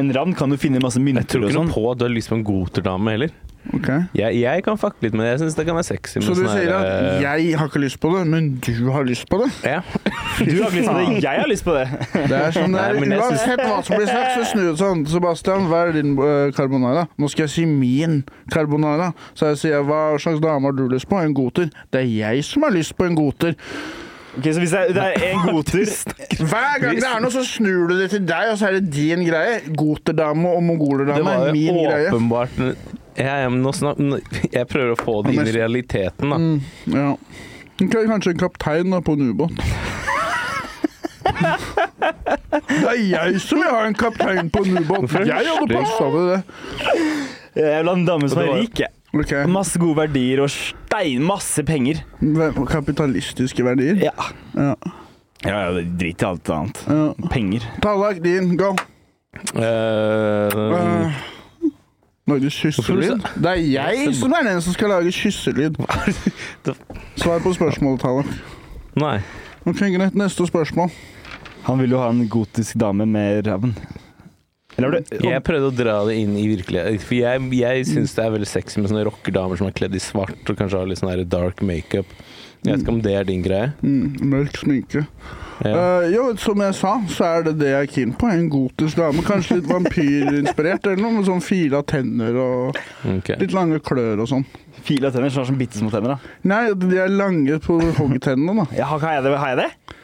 En rand kan du finne masse
Jeg
mynter
tror
og
ikke
sånn.
noe på at du har lyst på en goterdame heller.
ok.
Jeg, jeg kan fucke litt med det. Jeg syns det kan være sexy. med
Så du
sånn
sier
her,
at
eh,
jeg har ikke lyst på det, men du har lyst på det?
ja.
Du har lyst på det, jeg har lyst på det!
Det er sånn det
Nei, men
er.
jeg synes-
Uansett hva som blir sagt, så snur det sånn. Sebastian, hva er din eh, carbonara? Nå skal jeg si min carbonara. Så jeg sier hva slags dame har du lyst på? En goter? Det er jeg som har lyst på en goter.
Ok, Så hvis det er- det er en eh, goter
Hver gang det er noe, så snur du det til deg, og så er det din greie. Goterdame og
Det
mongolerdame
var
er min
jo
greie.
åpenbart jeg, jeg, nå snak, nå- jeg prøver å få det inn i realiteten, da.
Ja. Hun kan- Kanskje en kaptein da, på en ubåt. Det er jeg som vil ha en kaptein på en ubåt.
Hvorfor er det
Jeg hadde
slik?
passa til det.
Jeg vil ha en dame som er rik. jeg.
Ok,
Masse gode verdier og stein, masse penger.
Hvem- Kapitalistiske verdier.
Ja.
Ja.
Ja, ja, Drit i alt annet.
Ja.
Penger.
Tallak, din, go. Mm.
Eh,
Uh, Lage kysselyd? Det er jeg som er den som skal lage kysselyd. Svar på spørsmålet, Tallak.
nei.
Ok, Greit, neste spørsmål.
Han vil jo ha en gotisk dame med ravn. Eller har du
Jeg prøvde å dra det inn i virkeligheten. For jeg, jeg syns det er veldig sexy med sånne rockerdamer som er kledd i svart og kanskje har litt sånn her dark makeup. Jeg vet ikke om det er din greie.
Mm, mørk sminke.
Ja.
Eh, jo, som jeg sa, så er det det jeg er keen på. En gotisk dame. Kanskje litt vampyrinspirert eller noe, med sånn fila tenner og
ok.
litt lange klør og sånn.
fila tenner som har sånn bitte små tenner? da?
Nei, de er lange på hoggtennene, da.
Ja, har, har jeg det? Har jeg det?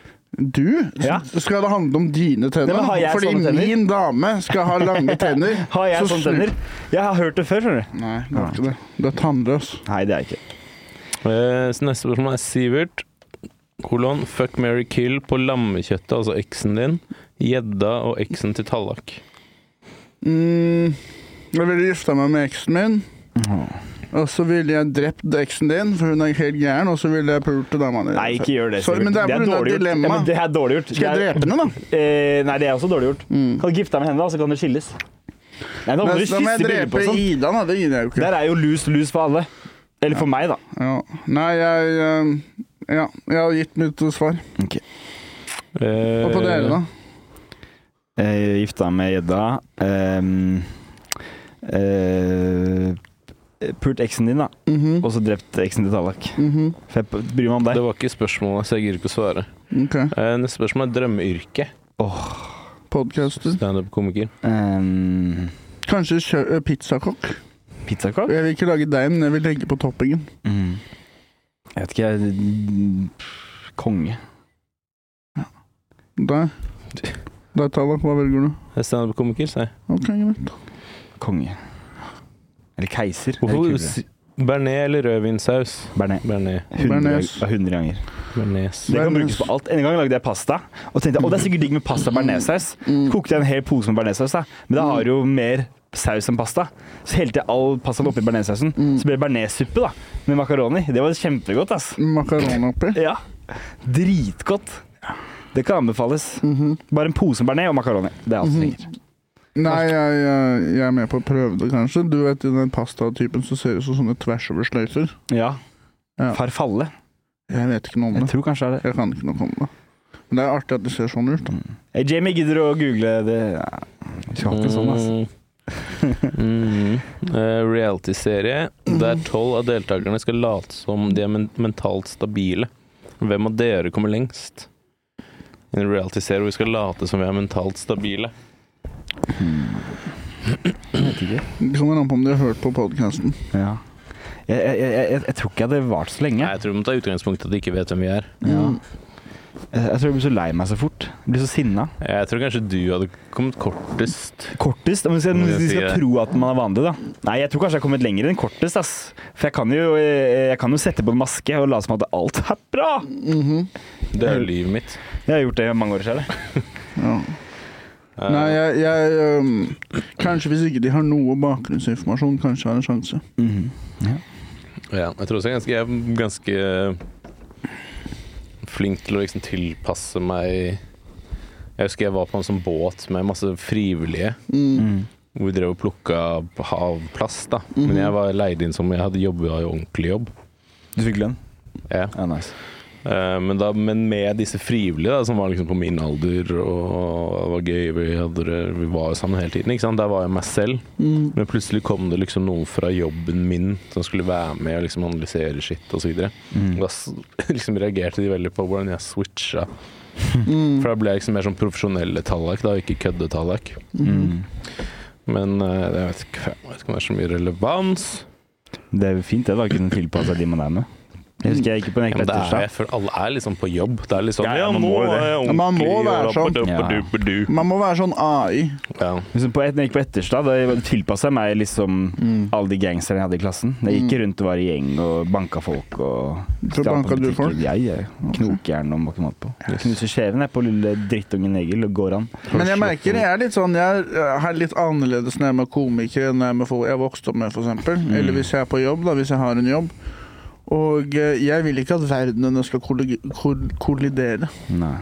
Du?
Ja.
Så Skal det handle om dine tenner?
Nei, men har jeg
da? Fordi
sånne tenner?
min dame skal ha lange tenner.
Har jeg
så
sånne
snu-
tenner? Jeg har hørt det før, skjønner du.
Nei, det er ikke det. Du er tannløs.
Nei, det er jeg ikke.
Eh, Så neste spørsmål er Sivert. Kolon, fuck, marry, kill på lammekjøttet, altså eksen din, gjedda og eksen til Tallak.
Mm, jeg ville gifta meg med eksen min. Og så ville jeg drept eksen din, for hun er helt gæren. Og så ville jeg pult dama di.
Nei, ikke gjør det.
Sorry, men det er på grunn av
dårlig gjort. Ja, men
dilemmaet.
det er dårlig gjort.
Skal jeg
Det er-
drepe henne, da?
Eh, nei, det er også dårlig gjort.
Mm.
Kan du gifte deg med henne, da, så kan dere skilles. Nei, da må
Men
du
da må
kysse
jeg
bildet på
drepe
sånn.
Ida, da. Det gidder jeg jo ikke.
Der er jo lus lus for alle. Eller for meg, da.
Ja. Nei, jeg eh, Ja, jeg har gitt mitt svar. Hva på dere, da?
Eh, gifta Eh, meg med gjedda. Ehm, eh, Pult eksen din, da.
Mhm,
Og så drept eksen til Tallak.
mhm.
For jeg bryr meg om
Det
deg.
var ikke spørsmålet, så jeg gidder ikke å svare.
Ok.
Eh, Neste spørsmål er drømmeyrke.
Podcaster.
Standup-komiker.
Um,
Kanskje kjø- eh, pizzakokk?
Pizzakokk?
Jeg vil ikke lage deigen, men jeg vil legge på toppingen.
Mm. Jeg vet ikke, jeg mm, Konge.
Der. Der, Tallak. Hva velger du?
Standup-komiker, sa jeg.
Ok, greit.
Konge. Eller keiser. er
Hvorfor
kulere.
s- Bearnés eller rødvinsaus?
Bearnés.
Bearnés.
100,
Bearnés.
ja, 100 ganger.
Bearnés.
Det kan
Bearnés.
brukes på alt. En gang lagde jeg pasta, og tenkte å, det er sikkert digg med pasta bearnéssaus.
Mm.
Kokte jeg en hel pose med bearnéssaus, da. men da har du jo mer saus enn pasta. Så helte jeg all pastaen oppi bearnéssausen. Så ble det bearnéssuppe da, med makaroni. Det var kjempegodt, ass.
Makaroni oppi.
Ja. Dritgodt. Det kan anbefales.
Mhm.
Bare en pose med bearnés og makaroni. Det er alt du trenger.
Nei, jeg, jeg, jeg er med på å prøve det, kanskje. Du vet i den pastatypen som ser ut som sånne tversoversløyfer.
Ja.
Ja.
Farfalle.
Jeg vet ikke noe om
Jeg
det.
tror kanskje det er det.
Jeg kan ikke noe om det. Men det er artig at det ser sånn ut. da.
Hey, Eh, Jamie, gidder du å google det? Ja. Vi skal ha ikke sånn, ass.
Mm. Eh, Reality-serie der tolv av deltakerne skal late som de er men mentalt stabile. Hvem av dere kommer lengst? En reality-serie hvor vi skal late som vi er mentalt stabile.
Vet ikke.
Det kommer an på om de har hørt på podkasten.
Ja. Jeg, jeg, jeg, jeg, jeg tror ikke jeg hadde vart så lenge.
Nei, jeg tror vi må ta utgangspunkt i at de ikke vet hvem vi er.
Ja. Mm. Jeg, jeg tror jeg blir så lei meg så fort. Jeg blir så sinna.
Jeg tror kanskje du hadde kommet kortest.
Kortest? Om vi skal,
Må
hvis
jeg
vi
si
skal
det.
tro at man er vanlig, da. Nei, jeg tror kanskje jeg har kommet lenger enn kortest, ass. For jeg kan jo, eh, jeg kan jo sette på en maske og late som at alt er bra.
Det er jo livet mitt.
Jeg har gjort det i mange år selv. jeg.
Ja.
Eh.
Nei, jeg, jeg øhm, Kanskje hvis ikke de har noe bakgrunnsinformasjon, kanskje har en sjanse.
Mhm.
Ja, jeg tror også jeg er ganske, jeg er ganske eh, flink til å liksom tilpasse meg Jeg husker jeg var på en sånn båt med masse frivillige. Hvor vi drev og plukka havplast, da. Men jeg var leid inn som jeg hadde jobba i ordentlig jobb.
Du fikk lønn?
Ja.
Ja, nice.
Eh, Men, da, men med disse frivillige, da, som var liksom på min alder og var gøy Vi, hadde, det- vi var jo sammen hele tiden. Ikke sant? Der var jeg meg selv. Men plutselig kom det liksom noen fra jobben min som skulle være med og liksom analysere skitt osv. Da s- liksom reagerte de veldig på hvordan jeg switcha.
Mm.
For da ble jeg liksom mer sånn profesjonelle tallak, da, og ikke køddetallak.
Mm.
Men eh, jeg vet ikke, jeg vet ikke om det er så mye relevans.
Det er jo fint det, da. å Kunne tilpasse seg de man er med. Jeg husker jeg gikk på en
Ja,
egen
men det er,
etterslag.
jeg føler alle er liksom på jobb. Det er litt sånn
Ja, ja, man må jo det.
er jeg
Ja, man må
ordentlig,
være
og
sånn.
rappaduppadu.
Man må være sånn AI.
Ja.
Liksom på et, når jeg gikk på Etterstad, da tilpassa jeg meg liksom alle de gangsterne jeg hadde i klassen. Jeg gikk rundt og var i gjeng og banka folk og
Så banka du folk?
Jeg, jeg. Knokjern og bakke mat på. Jeg knuser skjeven jeg på lille drittungen Egil og går an.
Men jeg merker jeg er litt sånn Jeg er- er litt annerledes når jeg er med komikere enn når jeg er med folk jeg vokste opp med, f.eks.
Mm.
Eller hvis jeg er på jobb, da, hvis jeg har en jobb. Og eh, jeg vil ikke at verdenene skal kolli- kol- kollidere.
Nei.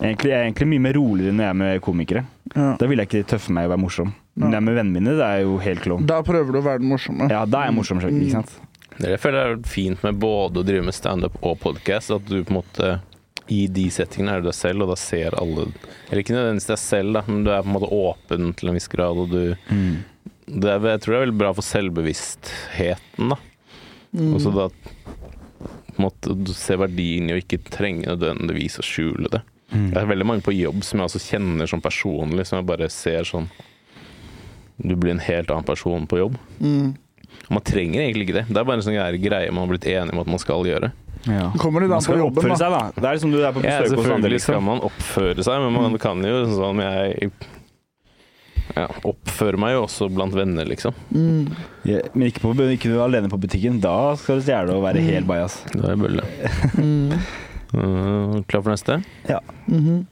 Egentlig, jeg er egentlig mye mer roligere når jeg er med komikere.
Ja.
Da vil jeg ikke tøffe meg og være morsom. Men
Nei.
når jeg er med vennene mine, det er jeg jo helt klovn.
Da prøver du å være den morsomme.
Ja, da er jeg morsom, selv, ikke sant?
Det jeg føler er fint med både å drive med standup og podkast, at du på en måte i de settingene er du deg selv, og da ser alle Eller ikke nødvendigvis deg selv, da, men du er på en måte åpen til en viss grad, og du
Mm.
det er, Jeg tror det er veldig bra for selvbevisstheten, da.
Mm.
Og så da på en måte du ser verdien i å ikke trenge nødvendigvis å skjule
Mm.
det. Det er veldig mange på jobb som jeg også kjenner sånn personlig, som jeg bare ser sånn Du blir en helt annen person på jobb.
Mm.
Man trenger egentlig ikke det. Det er bare en sånn greie- greie man har blitt enig om at man skal gjøre.
Ja.
Kommer litt
Man
an på
skal jo
jobben,
oppføre
da.
seg, da. Det er liksom du er på
Ja,
besøk hos andre, Mm.
selvfølgelig skal
liksom.
man oppføre seg, men man kan jo sånn jeg ja, oppfører meg jo også blant venner, liksom.
Mm.
Ja, men ikke, på, ikke du er alene på butikken. Da skal du stjele og være helt bajas.
Det er bølle.
Mm.
Uh, klar for neste?
Mhm.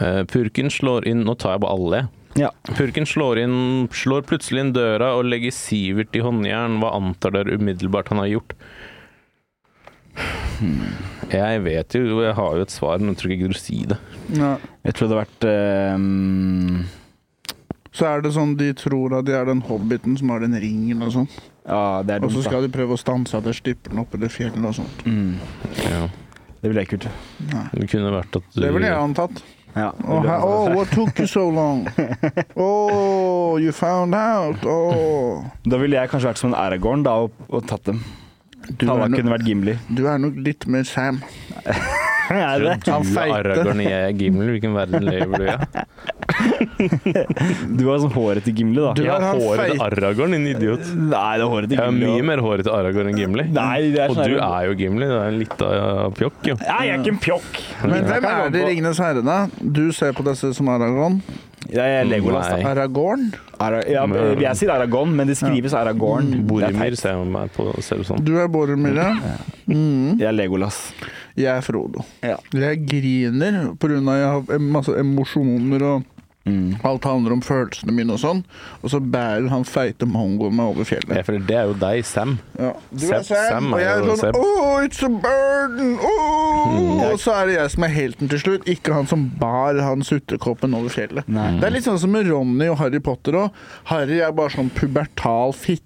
Eh, purken slår inn Nå tar jeg bare alle.
Ja.
Purken slår, inn, slår plutselig inn døra og legger Sivert i håndjern. Hva antar dere umiddelbart han har gjort? Jeg vet jo, jeg har jo et svar, men jeg tror ikke jeg gidder å si det.
Ja.
Jeg tror det hadde vært ehm,
Så er det sånn de tror at de er den hobbiten som har den ringen og sånn.
Ja, det er
Og så
dumt, da.
skal de prøve å stanse at det stipper den opp eller fjellet og sånt.
Mm.
Ja.
Det blir ekkelt.
Nei.
Det kunne vært at du
Det ville jeg antatt.
Ja.
Oh, how,
sånn-
oh, what took you so long? Oh, you found out. Oh.
Da ville jeg kanskje vært som en Aragorn da, og, og tatt dem.
Du er,
Talla
nok,
kunne vært Gimli.
du er nok litt mer Sam.
er det?
Du
Han
er
feite.
Aragorn, jeg er Gimli. Hvilken verden lever du i? ja?
Du har sånn håret til Gimli, da.
Du-
Jeg
er
har
han
håret til
feite.
Aragorn, din idiot.
Nei, det er håret til
Jeg har
Gimli.
mye
også.
mer håret til Aragorn enn Gimli.
Nei, det er
Og
sånn
du
her-
er jo Gimli. Du er litt av pjokk, jo.
Nei, jeg er ikke en pjokk.
Men hvem er det i Ringenes herre, da? Du ser på disse som Aragorn.
Jeg er Legolas,
Nei.
da.
Aragorn?
Ara ja, jeg sier Aragorn, men det skrives Aragorn. Det er
Boromir
teit.
ser jeg meg på ser du sånn.
Du er Boromir, ja. Mm.
Jeg er Legolas.
Jeg er Frodo.
Ja.
Jeg griner pga. jeg har em- masse emosjoner og
Mm.
alt handler om følelsene mine og sånn. Og så bærer han feite mongoen meg over fjellet.
Jeg føler det er jo deg, Sam.
Ja. Du er
Seb-
Sam,
Sam er
og jeg er
jo
sånn
Seb.
Oh, it's a
Mm.
burden! Oh! Og så er det jeg som er helten til slutt, ikke han som bar han sutrekoppen over fjellet.
Nei.
Det er litt sånn som med Ronny og Harry Potter òg. Harry er bare sånn pubertal fitte.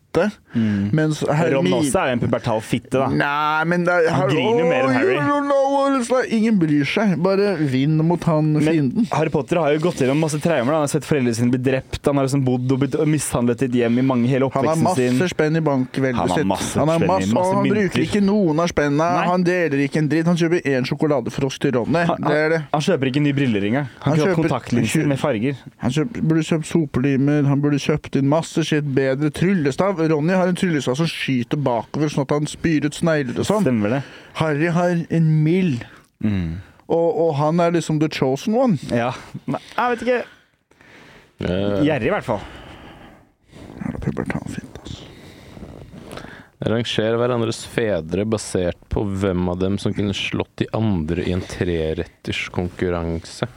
Mens
Ron
Hermine
også er jo en pubertal fitte, da.
Nei, men det er,
Han griner jo mer enn Harry.
You don't know og så ingen bryr seg. Bare vinn mot han
Men
fienden.
Harry Potter har jo gått gjennom masse traumer. da. Han har sett foreldrene sine bli drept, han har liksom bodd og blitt mishandlet i et hjem i mange hele
Han har
oppveksten sin.
masse spenn i
Han
bankveldet
har
sitt.
masse
Han, har
spenn i-
masse,
masse
og han
mynter.
bruker ikke noen av spenna.
Nei.
Han deler ikke en dritt. Han kjøper én sjokoladefrosk til Ronny.
Han,
Det er det.
han, han kjøper ikke nye briller engang. Han,
Han
han kjøper
kjøper-
kontaktlinser med farger.
Han kjøp, burde kjøpt sopelimer, han burde kjøpt inn masse skitt. Bedre tryllestav. Ronny har en tryllestav som skyter bakover, sånn at han spyr ut snegler og sånn.
Stemmer det?
Harry har en mill.
Mm.
Og, og han er liksom the chosen one.
Ja. Nei, jeg vet ikke.
Eh,
Gjerrig, i hvert fall.
Ja, Pubertan fint, altså.
Rangerer hverandres fedre basert på hvem av dem som kunne slått de andre i en treretters konkurranse.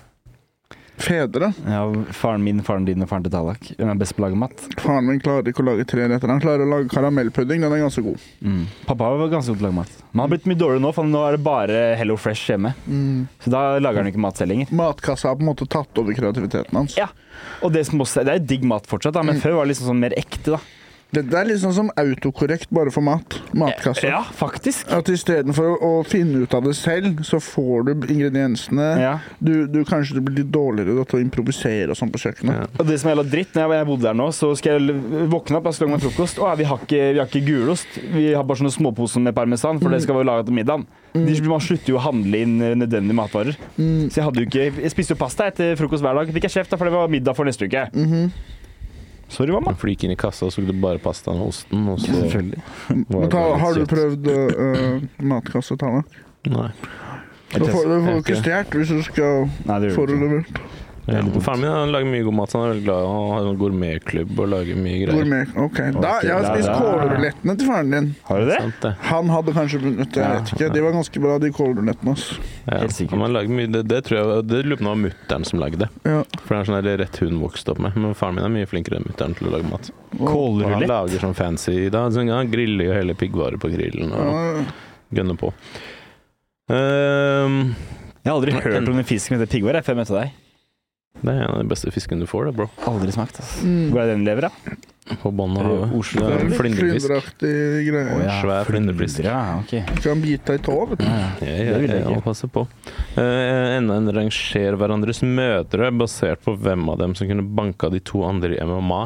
Fedre.
Ja, faren min, faren din og faren til Tallak. Hun er best på å lage mat.
Faren min klarer ikke å lage tre retter. Han klarer å lage karamellpudding. Den er ganske god.
Mm. Pappa var ganske god til å lage mat. Men han har blitt mye dårligere nå, for nå er det bare Hello Fresh hjemme. Så da lager han jo ikke mat selv lenger.
Matkassa har på en måte tatt over kreativiteten hans.
Ja. Og det, som også, det er jo digg mat fortsatt, da, men før var det liksom sånn mer ekte, da.
Dette er litt sånn som autokorrekt, bare for mat. Matkassa.
Ja, faktisk.
At istedenfor å, å finne ut av det selv, så får du ingrediensene.
Ja.
Du, du Kanskje du blir litt dårligere til å improvisere og sånn på kjøkkenet.
Og det som er jævla dritt, når jeg- jeg bodde der nå, så skal jeg l- våkne opp og lage meg frokost. Å, ja, vi har ikke, vi har ikke gulost. Vi har bare sånne småposer med parmesan, for det skal vi lage til middagen. De, man slutter jo å handle inn eh, nødvendige matvarer.
Mm,
Så jeg hadde jo ikke Jeg spiste jo pasta etter frokost hver dag. Fikk jeg kjeft, da, for det var middag for neste
mm,
uke.
mhm.
Sorry, mamma.
For du gikk inn i kassa, og så tok du bare pastaen og osten. Og så
Selvfølgelig.
var
Men
det
ta,
bare litt
har du
søtt.
prøvd øh, matkasse, Tana?
Nei.
Da får du får
Jeg
du ikke
ikke.
stjålet hvis du skal
Nei, det
få
gjør
det
du ikke.
levert.
Ja, men faren min han lager mye god mat. så Han er veldig glad i å ha en gourmetklubb og lage mye greier.
Gourmet. Ok. Da, jeg har
da-
spist
da-
kålrulettene til faren din.
Har du det?
Sant det?
Han hadde kanskje vunnet, jeg vet ikke. De var ganske bra, de kålrulettene. ass.
Ja.
Helt sikkert.
Ja, men han lager mye, det, det tror jeg Det lurer på om det var mutter'n som lagde det.
Ja.
For det er sånn der rett hun vokste opp med. Men faren min er mye flinkere enn mutter'n til å lage mat. Og han
Kålrulett.
lager sånn fancy da, sånn, Han griller jo hele piggvarer på grillen og
Ja.
gønner på. Ehm,
Jeg har aldri hørt om en fisk som heter piggvar jeg, før jeg møtte deg.
det er en av de beste fiskene du får, da, bro.
Aldri smakt, altså.
Mm.
Hvor er den lever, da?
På bånn av havet.
Oslo.
Det
Det er
er
litt
Flyndrefisk.
flyndreaktig greie.
ja. svær flyndrefisk.
Ja, ok.
Kan bite deg i tå, vet du.
Ja, ja.
Ja,
Det
ja,
vil jeg
ja,
ikke.
og passe på. Eh, enda en rangerer hverandres mødre basert på hvem av dem som kunne banka de to andre i MMA.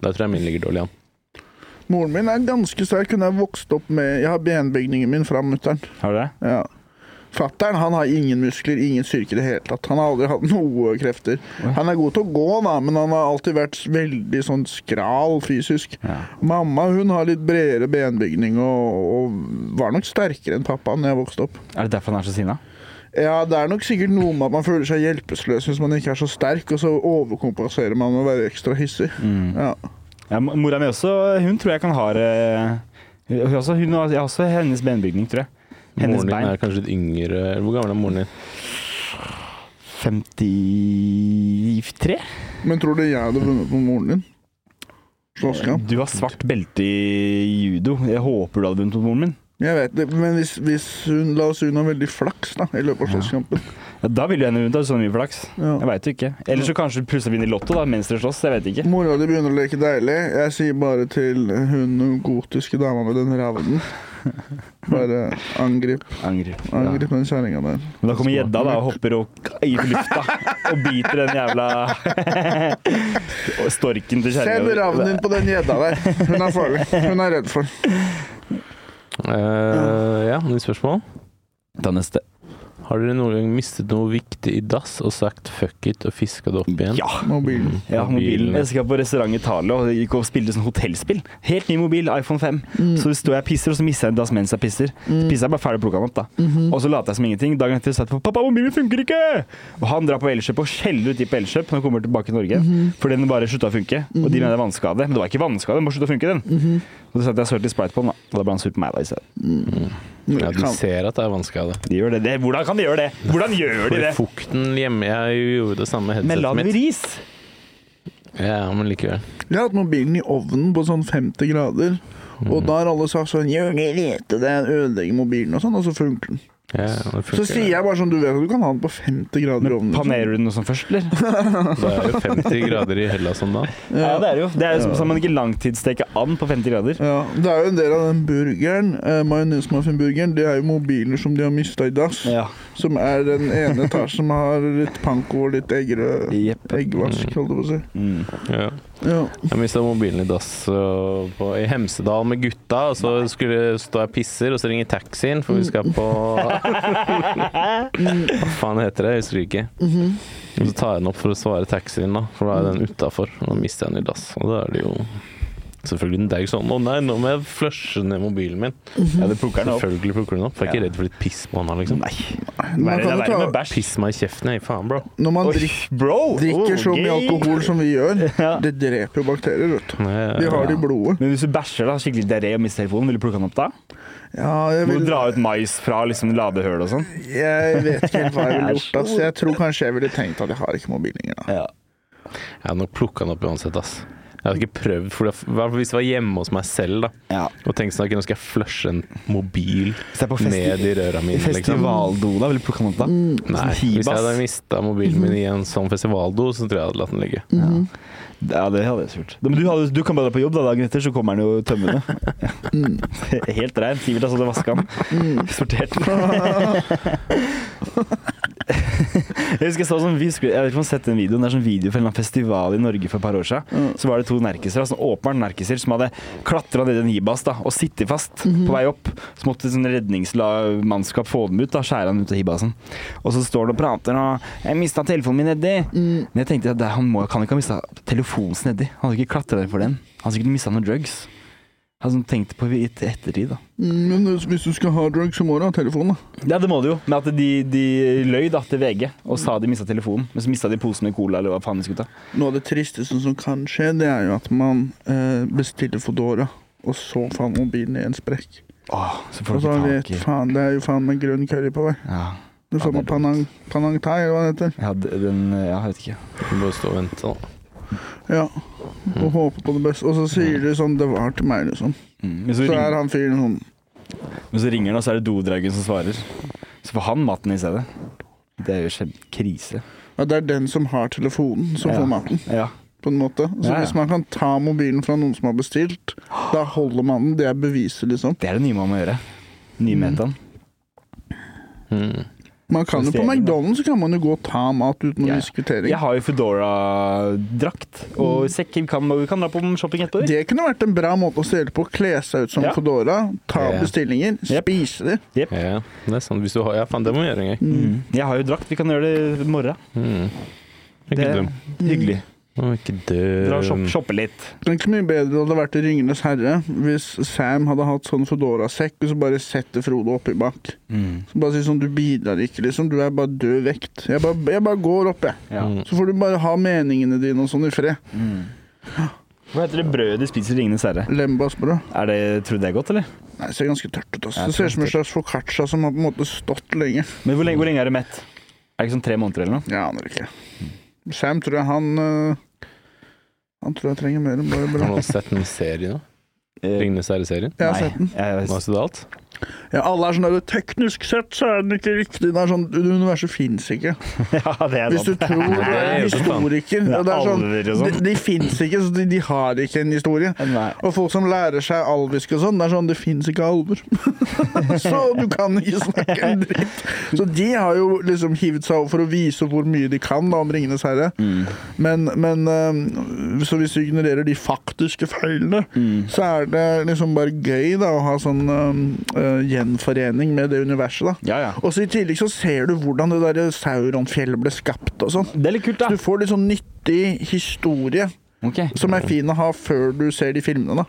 Der tror jeg min ligger dårlig an.
Moren min er ganske sterk. Hun er vokst opp med Jeg har benbygningen min fra mutter'n.
Har du det?
Ja. Fatter'n han har ingen muskler, ingen styrke i det hele tatt. Han har aldri hatt noe krefter. Han er god til å gå, da, men han har alltid vært veldig sånn skral fysisk.
Ja.
Mamma hun har litt bredere benbygning og, og var nok sterkere enn pappa da jeg vokste opp.
Er det derfor han er så sinna?
Ja, Det er nok sikkert noe med at man føler seg hjelpeløs hvis man ikke er så sterk, og så overkompenserer man med å være ekstra hissig.
Mm.
Ja.
Ja, mo- mora mi også, hun tror jeg kan ha eh, hun, også, hun har, jeg har også hennes benbygning, tror jeg. Hennes
Moren din
bein.
er kanskje litt yngre Hvor gammel er moren din?
53?
Men tror du jeg hadde vunnet på moren din? Slåsskamp?
Du har svart belte i judo. Jeg håper du hadde vunnet mot moren min.
Jeg vet det, men hvis, hvis hun La oss si hun har veldig flaks da, i løpet av slåsskampen.
Ja, da ville jeg henne vunnet, hadde så mye flaks.
Ja.
Jeg veit jo ikke. Eller så kanskje du plutselig vinner Lotto da, mens dere slåss. Jeg vet ikke.
Mora di begynner å leke deilig. Jeg sier bare til hun gotiske dama med den ravnen Bare angrip,
Angrer. Ja.
angrip den kjerringa der.
Men da kommer gjedda da, og hopper og i lufta og biter den jævla storken til
Send
kjerringa.
ravnen din på den gjedda der. Hun er farlig. Hun er redd for.
Eh, ja, nytt spørsmål.
Ta neste.
Har dere noen gang mistet noe viktig i dass og sagt fuck it og fiska det opp igjen?
Ja.
Mobilen.
Ja, mobilen.
Mobilen.
Jeg skal på restaurant i Italia og gikk og spilte sånn hotellspill. Helt ny mobil, iPhone 5.
Mm.
Så står jeg og pisser, og så mister jeg en dass mens jeg pisser. Så pisser jeg bare ferdig og plukker den opp, da.
Mhm.
Og så later jeg som ingenting. Dagen etter satt jeg på 'Pappa, mobilen funker ikke!' Og han drar på Elkjøp og skjeller ut de på Elkjøp når han kommer tilbake til Norge.
Mhm.
For den bare slutta å funke. Og de mener det er vannskade. Men det var ikke vannskade, den bare slutta å funke, den.
Mhm.
Og så satte jeg og sølte i Sprite på den, da. Og da ble han sur på meg, da. i stedet.
Ja, de
Kan-
ser at det er vanskelig.
De gjør det. det. Hvordan kan de gjøre det? Hvordan gjør de
For
det?
fukten hjemme Jeg gjorde det samme med
Med
headsetet mitt.
ris.
Ja, men likevel.
Jeg har hatt mobilen i ovnen på sånn 50
Mm.
grader, og da har alle sagt sånn 'Jeg vil vite det, jeg ødelegger mobilen', og sånn, og så funker den.
Ja, det funker.
Så sier jeg bare sånn, du vet at du kan ha den på 50 grader i ovnen. liksom.
Panerer du noe som først, eller?
Det er jo 50 grader i Hellas om dagen.
Ja, det er det jo. Det er jo som som man ikke langtidssteker and på 50 grader.
Ja, Det er jo en del av den burgeren, eh, majonesmuffinburgeren, det er jo mobiler som de har mista i dass.
Ja.
Som er den ene etasjen som har litt panko og litt eggerø...
Jepp.
Eggvask, holdt jeg på å si.
Mm.
Ja.
Ja.
Jeg mista mobilen i dass og på, i Hemsedal med gutta, og så skulle jeg stå og pisser, og så ringer taxien, for vi skal på Hva
Mm.
faen heter det? Jeg husker ikke.
Mhm.
Og så tar jeg den opp for å svare taxien, da, for da er
Mm.
den utafor. Og da mister jeg den i dass. Og da er det jo Selvfølgelig, det er ikke sånn 'Å nei, nå må jeg flushe ned mobilen min'.
ja, du plukker den opp.
Selvfølgelig plukker du den opp, for jeg er ikke
Ja.
redd for litt piss på hånda, liksom.
Nei.
Man
Verre- Det er
kan jo
verre med
ta,
bæsj.
Piss meg i kjeften, jeg. Faen, bro.
når man
Oi,
drik,
bro!
drikker så
Oh,
mye
gay.
alkohol som vi gjør,
Ja.
det dreper jo bakterier, vet du.
Nei,
De har det i blodet.
Men hvis du bæsjer da, skikkelig diaré og mister telefonen, vil du plukke den opp da?
Ja, jeg
Må du
vil
dra ut mais fra liksom ladehøl og sånn?
Jeg vet ikke helt hva jeg
Jeg er
ville gjort. Ass. Jeg tror kanskje jeg ville tenkt at jeg har ikke mobil lenger. Da.
Ja.
Jeg hadde nok plukka den opp uansett, ass. Jeg hadde ikke prøvd, for det, i hvert fall hvis det var hjemme hos meg selv, da.
ja.
Og tenk sånn, ok, nå skal jeg flushe en mobil
Hvis jeg er på festi
ned i røra mine, liksom.
festivaldo, da, vil du plukke den opp da?
Nei,
Sånn
hvis jeg hadde
hibas.
mista mobilen min i en sånn festivaldo, så tror jeg jeg hadde latt den ligge.
mm. Ja, det hadde jeg surt. Men du, hadde, du kan bare dra på jobb da, dagen etter, så kommer den jo tømmende. Mm. Helt rein. Sivert har stått og vaska den. Sortert den. Jeg husker jeg så sånn, vi skulle, jeg vet ikke om du har sett den videoen, det er sånn video fra en eller annen festival i Norge for et par år siden. Så var det to nerkiser, altså åpenbart nerkiser, som hadde klatra ned i en hibas da, og sittet fast på vei opp. Så måtte sånn redningsmannskap få dem ut, da, skjære han ut av hibasen. Og så står han og prater og 'Jeg mista telefonen min nedi'. Men jeg tenkte at det, han må, kan ikke ha mista telefonen sin nedi. Han hadde ikke klatra ned for den. Han hadde sikkert mista noen drugs. Jeg sånn, tenkte på det i et- ettertid, da.
Mm, Men hvis du skal ha drugs, så må du ha telefon. Da.
Ja, det må det jo. Men at de, de løy da til VG og sa de mista telefonen. Men så mista de posen med cola eller hva faen de skulle ta.
Noe av det tristeste som kan skje, det er jo at man eh, bestiller Foodora, og så faen mobilen i en sprekk.
Åh, så får
Og
du
så
ikke
vet
tak i
faen, det er jo faen meg grønn curry på vei.
Ja,
Du
Ja,
får
det er
med panang, panang thai, eller hva det heter.
jeg hadde den Ja, jeg vet ikke.
Du må stå og vente, sånn. da.
Ja. Og håpe på det beste. Og så sier de sånn 'det var til meg', liksom.
Mm. Men, så
Så er
ringer,
han fyren sånn
men så ringer han, og så er det dodraugen som svarer. Så får han maten i stedet. Det er jo kjempekrise.
ja, Det er den som har telefonen, som
Ja.
får maten.
Ja.
på en måte. Så
Ja, ja.
hvis man kan ta mobilen fra noen som har bestilt, da holder man den. Det er beviset, liksom.
Det er det nye man må gjøre. Nye metaen.
Mm.
Man kan jo på
Justering, da.
McDonald's kan man jo gå og ta mat uten
Ja,
noe
ja.
diskutering.
Jeg har jo Foodora-drakt og sekk. Vi kan, vi kan dra på shopping etterpå.
Det kunne vært en bra måte å stjele på. Kle seg ut som
Ja.
Foodora, ta
Ja.
bestillinger,
Jep.
spise de.
Ja, det er sant. Hvis du har Ja, faen, det må vi gjøre en gang.
Mm. Jeg har jo drakt. Vi kan gjøre det i morgen.
Mm. Det er
Det
Ikke
er
dum.
hyggelig.
Å, ikke dum.
Dra og shop, shoppe litt.
Det er ikke så mye bedre det hadde vært i Ringenes herre hvis Sam hadde hatt sånn Foodora-sekk, og så bare setter Frode oppi bak. Så bare si sånn, du bidrar ikke, liksom. Du er bare død vekt. Jeg bare, jeg bare går opp, jeg.
Ja.
Mm.
Så får du bare ha meningene dine og sånn i fred.
Hva heter det brødet de spiser i Ringenes herre?
Lembasbrød.
Er det, tror du det er godt, eller?
Nei, det ser ganske tørt ut. Altså.
Ja,
Det ser ut som en
tørt.
slags foccaccia som har på en måte stått lenge.
Men hvor lenge, hvor lenge er du mett? Er det ikke sånn tre måneder eller noe?
Jeg aner ikke.
Mm.
Sam tror jeg han øh, Han tror jeg trenger mer enn bare
Har
brød.
noen sett den serien, da?
Eh,
Ringnes herre-serien?
Jeg har sett den.
Jeg,
Nå har du alt?
Ja, alle er sånn der, Teknisk sett så er den ikke riktig. Det er sånn, Universet fins ikke.
ja, det er
Hvis du
sant.
tror du
jo
er
for faen.
historiker og det er sånn,
alver og
De,
sånn.
de fins ikke, så de, de har ikke en historie.
Nei.
Og folk som lærer seg alvisk og sånn, det er sånn Det fins ikke alver. så du kan ikke snakke en dritt. Så de har jo liksom hivet seg over for å vise hvor mye de kan da, om Ringenes herre.
Mm.
Men, men øhm, Så hvis du ignorerer de faktiske feilene,
Mm.
så er det liksom bare gøy da å ha sånn øhm, øh, gjenforening med det universet, da.
Ja, ja.
Og så i tillegg så ser du hvordan det der Sauron-fjellet ble skapt og sånn.
Det er litt kult,
Så
da.
du får litt sånn nyttig historie
Ok.
som
Mm.
er fin å ha før du ser de filmene, da.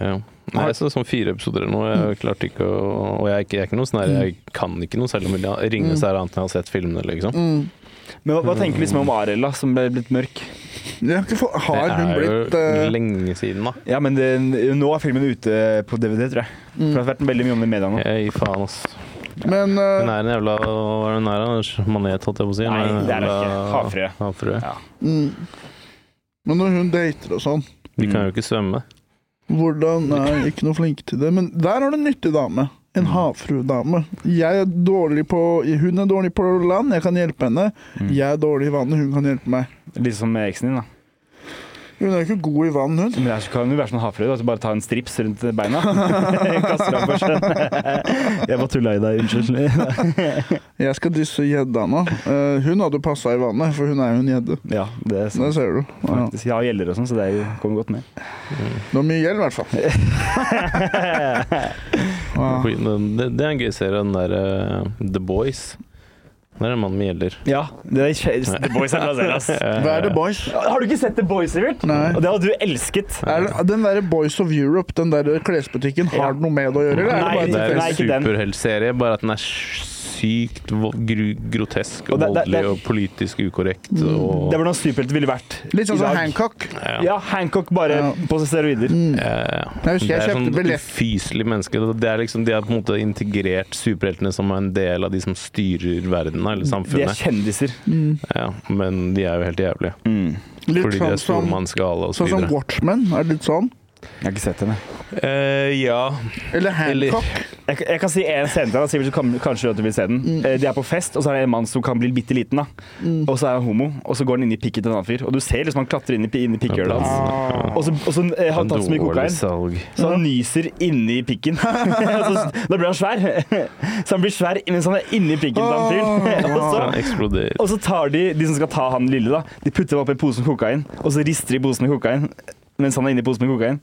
Ja. Nei, jeg så sånn fire episoder eller noe. Jeg klarte ikke å Og jeg er ikke, jeg er ikke noe sånn her Jeg kan ikke noe selv om jeg ringer seg annet enn jeg har sett filmene, liksom.
Men hva, hva tenker vi liksom om Arild, da, som ble blitt mørk?
Jeg har, ikke få,
Det
har hun
er
blitt
jo
eh,
lenge siden, da.
Ja, men det, nå er filmen ute på DVD, tror jeg. For det har vært veldig mye om det i media nå.
Jeg gir faen, ass.
Men
Hun
eh,
er en jævla Hva er hun er, da? Manet, holdt jeg på å si. Hun
Nei, det er hun
jævla-
ikke. Havfrue.
Havfrue.
Ja.
mm. Men når hun dater og sånn
De kan jo ikke svømme.
Hvordan Nei, ikke noe flink til det. Men der har du en nyttig dame.
Mm.
en havfruedame. Jeg er dårlig på Hun er dårlig på land, jeg kan hjelpe henne.
Mm.
Jeg er dårlig i vannet, hun kan hjelpe meg.
Litt som med eksen din, da.
Hun er ikke god i vann, hun.
Men det er så- kan jo være sånn havfrø, at du bare tar en strips rundt beina. Kaster deg på sjøen. Jeg bare tulla i deg, unnskyld.
Jeg skal dysse gjedda nå. Eh, hun hadde passa i vannet, for hun er jo en gjedde.
Ja, det er
Det
sant.
ser du. Ja.
Faktisk. Jeg har gjeller og sånn, så det er jo- kommer godt med.
Det var mye gjeld, i hvert fall. Ja.
Det, det er en gøy serie, den der eh, The Boys. Der er en mann med gjelder.
Ja, det er kje- The Boys er blazer, ass.
Hva er det, boys?
Har du ikke sett The Boys, Sivert?
Nei.
Og det hadde du elsket.
Er det, den derre Boys of Europe, den der klesbutikken, har det noe med det å gjøre? Eller er det
Nei,
bare
Det er
Nei,
en
ikke den.
superheltserie, bare at den er sykt vo- gru, grotesk
Og
og
det- det-
voldelig
det-
og politisk ukorrekt.
Mm.
Og,
Det var noe supert ville vært
Litt
i
sånn som
dag.
Hancock. Mm.
ja.
Ja, Mm. Hancock bare
Ja.
på
Eh,
steroider.
Jeg husker
det
jeg
er
kjøpte
sånn
billett
ufyselig menneske. Det er liksom, de har på en måte integrert superheltene som en del av de som styrer verden eller
De er
samfunnet.
kjendiser.
Ja, men de er jo helt jævlige.
Mm.
Litt
Fordi de
sånn
er
som,
stormannsgale og så
sånn som
videre.
Watchmen. Er det litt sånn?
Jeg har ikke sett henne.
Eh, ja.
Eller
Eller-
Hancock.
Jeg, jeg kan si en scene til deg, Sivert, så kan, kanskje at du vil se den. Eh, De er på fest, og så er det en mann som kan bli bitte liten. Da. Og så er han homo, og så går han inn i pikken til en annen fyr. Og du ser liksom han klatrer inn i, pi- inn i pikkhjulet hans. Og så, og så eh, har han tatt så mye
altså. Dårlig
kokain,
salg.
så han nyser inni pikken. Og så, da blir han svær. Så han blir svær mens han er inni pikken til han fyren. Og så,
Han eksploderer.
og så tar de de som skal ta han lille, da. De putter ham oppi posen med kokain, og så rister de posen med kokain mens han er inni posen med kokain.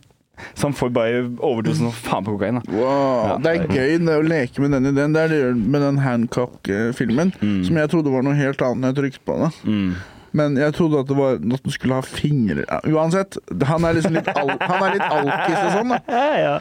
Så han får bare overdose som faen på kokain. da
Wow, det er gøy det å leke med den ideen. Det er det jeg gjør med den Hancock-filmen,
Mm.
som jeg trodde var noe helt annet når jeg trykte på den. Men jeg trodde at, det var, at den skulle ha fingre Ja, Uansett, han er liksom litt, al han er litt alkis og sånn, da.
Ja, ja.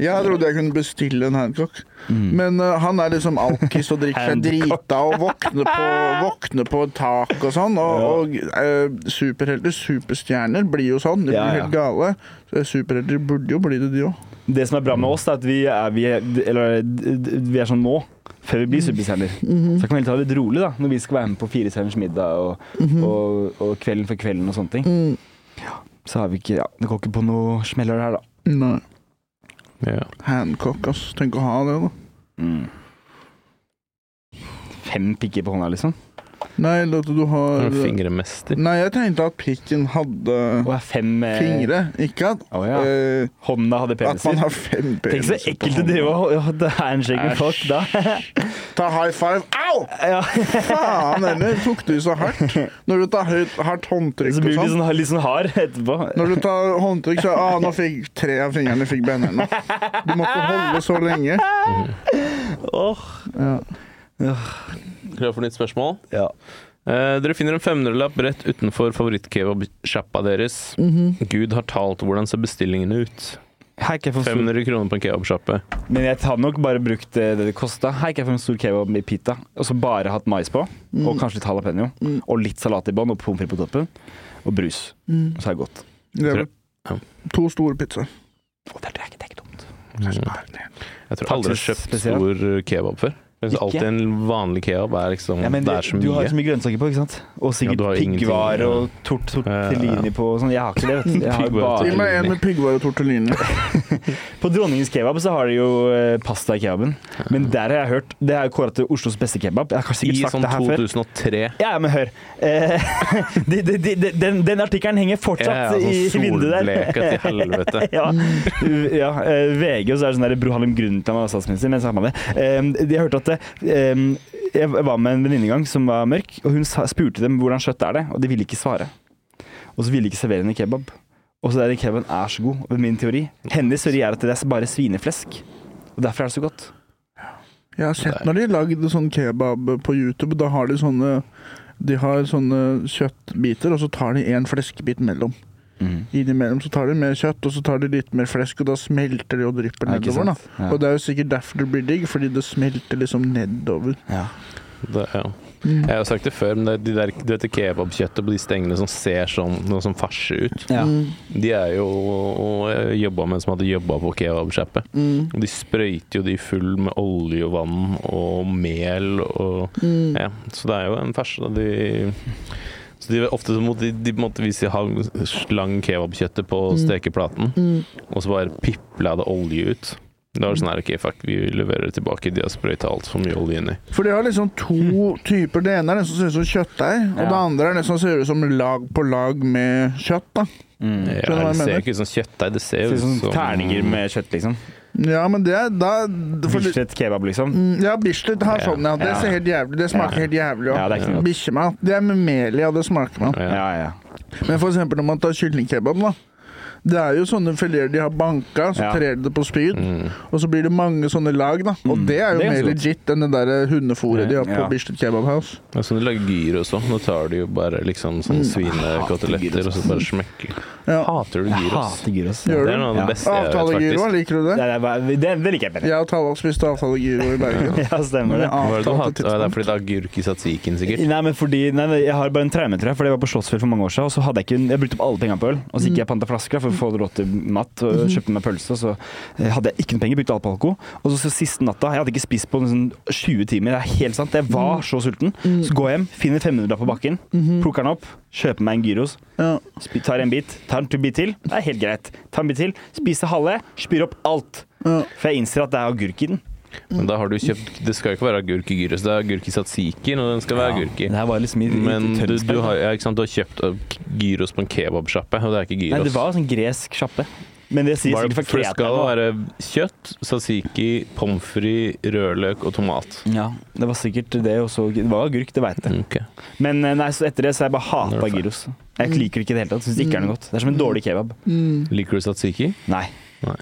Jeg trodde jeg kunne bestille en Hancock.
Mm.
Men eh, han er liksom alkis og drikker seg
Hancock.
drita og våkner på, våkner på et tak og sånn. Og, og eh, superhelter, superstjerner, blir jo sånn. De blir
Ja, ja.
helt gale. Så Superhelter burde jo bli det, de òg.
Det som er bra med oss, det er at vi er, vi er, eller, d- d- vi er sånn nå, før vi blir superstjerner. Så kan vi heller ta det litt rolig da, når vi skal være med på Fire stjerners middag og, og, og Kvelden for kvelden og sånne ting. Ja, Så har vi ikke ja, Det går ikke på noe smeller her, da.
Nei.
Ja.
Hancock, ass. Tenk å ha det, da. Mm.
Fem pikker på hånda, liksom.
Nei, eller at du har eh,
Han er Fingremester.
Nei, jeg tenkte at pikken hadde
Og er fem eh,
fingre, ikke at
Å ja.
eh,
Hånda hadde
At man
peniser.
har fem
Tenk så
peniser på
ekkelt å
hånda.
drive og ja, det er en shake med folk da.
Ta high five. Au!
Ja.
Faen heller, tok du så hardt? Når du tar høyt, hardt håndtrykk
Så
og
blir du
sånn.
sånn, litt sånn hard etterpå.
Når du tar håndtrykk, så ah, nå fikk tre av fingrene fikk benene. Du må ikke holde så lenge.
Åh.
Ja.
Klar for nytt spørsmål?
Ja.
Eh, dere finner en 500-lapp rett utenfor favorittkebabsjappa deres.
Mhm.
Gud har talt, hvordan ser bestillingene ut?
Hei, ikke for stor-
500 kroner på en kebabsjappe.
Men jeg hadde nok bare brukt det det, det kosta. Her ikke jeg for en stor kebab med pita. Og så bare hatt mais på,
Mm.
og kanskje litt jalapeño. Og litt salat i bånn, og pommes frites på toppen. Og brus.
Mm.
Så er det godt.
Det er
Ja.
vel to store pizzaer.
Og det er- det er ikke, det er ikke dumt.
Mm. Jeg tror aldri jeg har kjøpt
Spesielt.
stor eh, kebab før. Jeg synes
Ikke?
Alltid en vanlig kebab er liksom
Ja, men
Det
du,
er så
du har jo
mye.
så mye grønnsaker på, ikke sant? Og
Ja,
sikkert
du har jo ingenting,
piggvar
ja.
og tort tortellini på og sånn. Jeg har ikke det, vet du. Jeg har jo
Piggvar og
Gi
tortellini.
bare...
meg en med piggvar og tortellini.
På Dronningens kebab så har de jo eh, pasta i kebaben. Men der har jeg hørt Det er jo kåra til Oslos beste kebab. Jeg har kanskje
I
sikkert sagt
sånn
det her før.
2003.
Ja, ja, men hør. Eh, de, de, de, de, den, den artikkelen henger fortsatt
Ja, ja, sånn
i vinduet der.
solbleka til helvete.
ja. ja. eh, VG, og så er det sånn der Bro Harlem Brundtland var statsminister, men så har man det. Um, de hørte at det, um, Jeg var med en venninne en gang som var mørk, og hun sa, spurte dem hvordan kjøtt er det, og de ville ikke svare. Og så ville de ikke servere henne kebab. Og så er det kebaben er så god, og min teori. Hennes teori er at det er bare svineflesk. Og derfor er det så godt.
Jeg har sett når de har lagd sånn kebab på YouTube, da har de sånne de har sånne kjøttbiter, og så tar de en fleskebit mellom.
Mm.
Innimellom så tar de mer kjøtt, og så tar de litt mer flesk, og da smelter de og drypper
Ja, ikke
nedover.
sant?
da
Ja.
Og det er jo sikkert derfor det blir digg, fordi det smelter liksom nedover.
Ja.
Det, ja.
Mm.
Jeg har jo sagt det før, men det, de der, du vet det kebabkjøttet på de stengene som ser sånn, noe sånn farse ut De er jo jobba med en som hadde jobba på kebabsjappe.
Mm.
Og De sprøyter jo de full med olje og vann og mel og
Mm.
ja. Så det er jo en ferse, da. De, så de, ofte så måtte de, de måtte hvis de hang,
Mm.
slang kebabkjøttet på stekeplaten, og så bare pipla det olje ut. Da var det sånn her, ok, fuck, vi leverer tilbake de har sprøyta altfor mye olje inn i.
For de har liksom to typer. Det ene er den som ser ut som kjøttdeig, og
Hmm. Ja.
det andre er den som ser ut som lag på lag med kjøtt. da.
Ja,
Mm.
det
Skjønner Mm. hva jeg
ser jo
mener.
ikke ut som kjøttdeig, det ser
Ser
jo sånn-
ut
ut
som
som
sånn terninger med kjøtt, liksom.
Ja, men det er da for,
Bislett kebab, liksom.
Mm, Ja, Bislett har
Ja.
sånn, ja. Det
Ja.
ser helt jævlig Det smaker
Ja.
helt jævlig
Ja, det er ikke noe
òg.
godt.
Bikkjemat. Det er med mel i, ja. Det smaker man.
Ja.
Ja, ja.
Men for eksempel når man tar kyllingkebab, da. Det er jo sånne fileter de har banka, så
Ja. Mm.
trer de det på spyd.
Mm.
Og så blir det mange sånne lag, da. Og det er jo
Det er
mer
ganske godt.
legit enn det der hundefôret de har på
Ja.
Bislett Kebab House.
Det er sånn de lager gyr også. Nå tar de jo bare liksom sånn
Mm.
svinekoteletter og så bare smekker.
Ja.
Hater du
Jeg
gyros?
hater gyros.
Gjør
Det
du?
er noe av det
Ja.
beste jeg vet,
Avtalegiroa,
faktisk.
liker du
Det,
det?
er bare- det, det liker jeg bedre.
Jeg og Tallak spiste avtalegiro i Bergen.
Ja, stemmer det.
Hva er det du
Avtalte
hater? Å, Det er
tidspunkt.
fordi det er agurk i satsiken, sikkert.
Nei, men fordi, nei, nei, Jeg har bare en traume, tror jeg. Fordi jeg var på Slottsfjell for mange år siden. Og så hadde jeg ikke Jeg brukte opp alle pengene på øl. Og så gikk jeg og panta flasker for å få råd til mat. Og kjøpte meg pølse. Og så eh, hadde jeg ikke noe penger, brukte alt på alko. Og så, så siste natta Jeg hadde ikke spist på nesten 20 timer. Det er helt sant. Jeg var så sulten. Så går jeg hjem, finner 500 på bakken, plukker den opp, kjøper meg en gyros.
Ja.
spi- Tar en bit, tar en bit til. Det er helt greit. Tar en bit til, spiser halve, spyr opp alt.
Ja.
For jeg innser at det er agurk i den.
Men da har du kjøpt Det skal jo ikke være agurk i gyros, det er agurk i satsiken, og den skal være agurk i.
Det her var liksom i, i
Men du,
Tønsberg,
du,
da.
har, ja, ikke sant? du har kjøpt uh, k- gyros på en kebabsjappe, og det er ikke gyros.
Nei, det var sånn gresk sjappe. Men det sier
Bare-
sikkert
for
for
det skal
kreterne.
være kjøtt, tzatziki, pommes frites, rødløk og tomat.
Ja, det var sikkert det også. Det var agurk, det veit jeg.
Ok.
Men eh, nei, så etter det så har jeg bare
Nå er
hata
det
gyros. Jeg liker det ikke i det hele tatt. Syns ikke det er noe godt. Det er som en dårlig kebab.
Liker du tzatziki?
Nei.
Nei.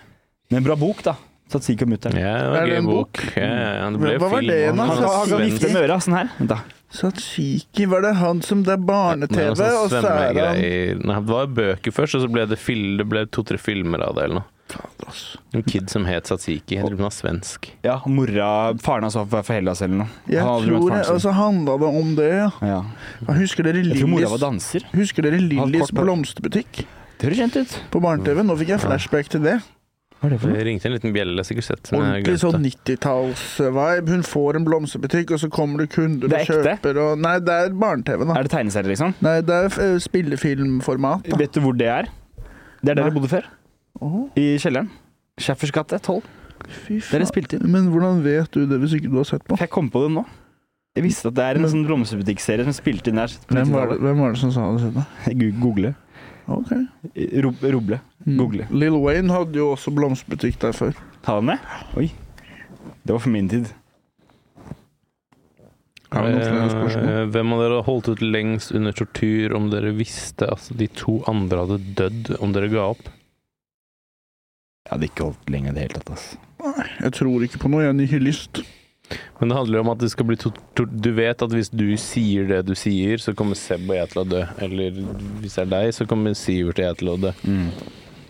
Men bra bok, da. Satsiki og mutter'n.
Ja, det
Er
var
det
gøy
en
bok. Ja, ja, ja, det ble
Hva var
film.
det igjen, da?
Han
var
kan, han kan
svensk-
vifte med øra sånn her. Vent da.
Satsiki, var det han som Det er barne-TV,
Det var sånn
og så er han
svømmegreier. Nei, det var bøker først, og så ble det, fil- det ble to-tre filmer av det eller noe. En kid som het Satsiki. Jeg tror hun var svensk.
Ja, mora Faren hans var fra- fra Hellas eller noe.
Jeg
Han hadde aldri møtt
tror det,
faren
og
sin.
så handla det om det, ja.
Ja.
Jeg Husker dere
Jeg tror mora var
Lillys
danser.
Husker dere Lillys
kort hår.
blomsterbutikk
Det høres kjent ut.
på barne-TV? Nå fikk jeg flashback til det.
Hva er det for noe?
Det ringte en liten bjelle, sikkert sett. men jeg
Ordentlig sånn
glemte.
90-talls-vibe. Hun får en blomsterbutikk, og så kommer det kunder
Det er
og
ekte?
kjøper og Nei, det er barne-TV, da.
Er det tegneserie, liksom?
Nei, det er eh, spillefilmformat. da.
Vet du hvor det er? Det er der
Nei.
dere bodde før.
Åh,
I kjelleren. Schaffers gate 12.
fy
Dere
faen.
spilte inn.
Men hvordan vet du det hvis ikke du har sett på?
For jeg kom på det nå. Jeg visste at det er en
Men-
sånn blomsterbutikkserie som spilte inn der. på
Hvem var
90-tallet.
det, hvem var det som sa det til deg?
Gu- Google.
Ok.
Ro Roble.
Mm.
Google.
Lil Wayne hadde jo også blomsterbutikk der før.
Ta den med. Oi. Det var for min tid.
Har vi noen flere spørsmål?
Eh, Hvem av dere har holdt ut lengst under tortur om dere visste at de to andre hadde dødd om dere ga opp?
Jeg hadde ikke holdt lenge i det hele tatt. ass.
Nei, jeg tror ikke på noe. Jeg er nihilist.
Men det handler jo om at det skal bli tortur Du vet at hvis du sier det du sier, så kommer Seb og jeg til å dø. Eller hvis det er deg, så kommer Sivert og jeg til å dø.
Mm.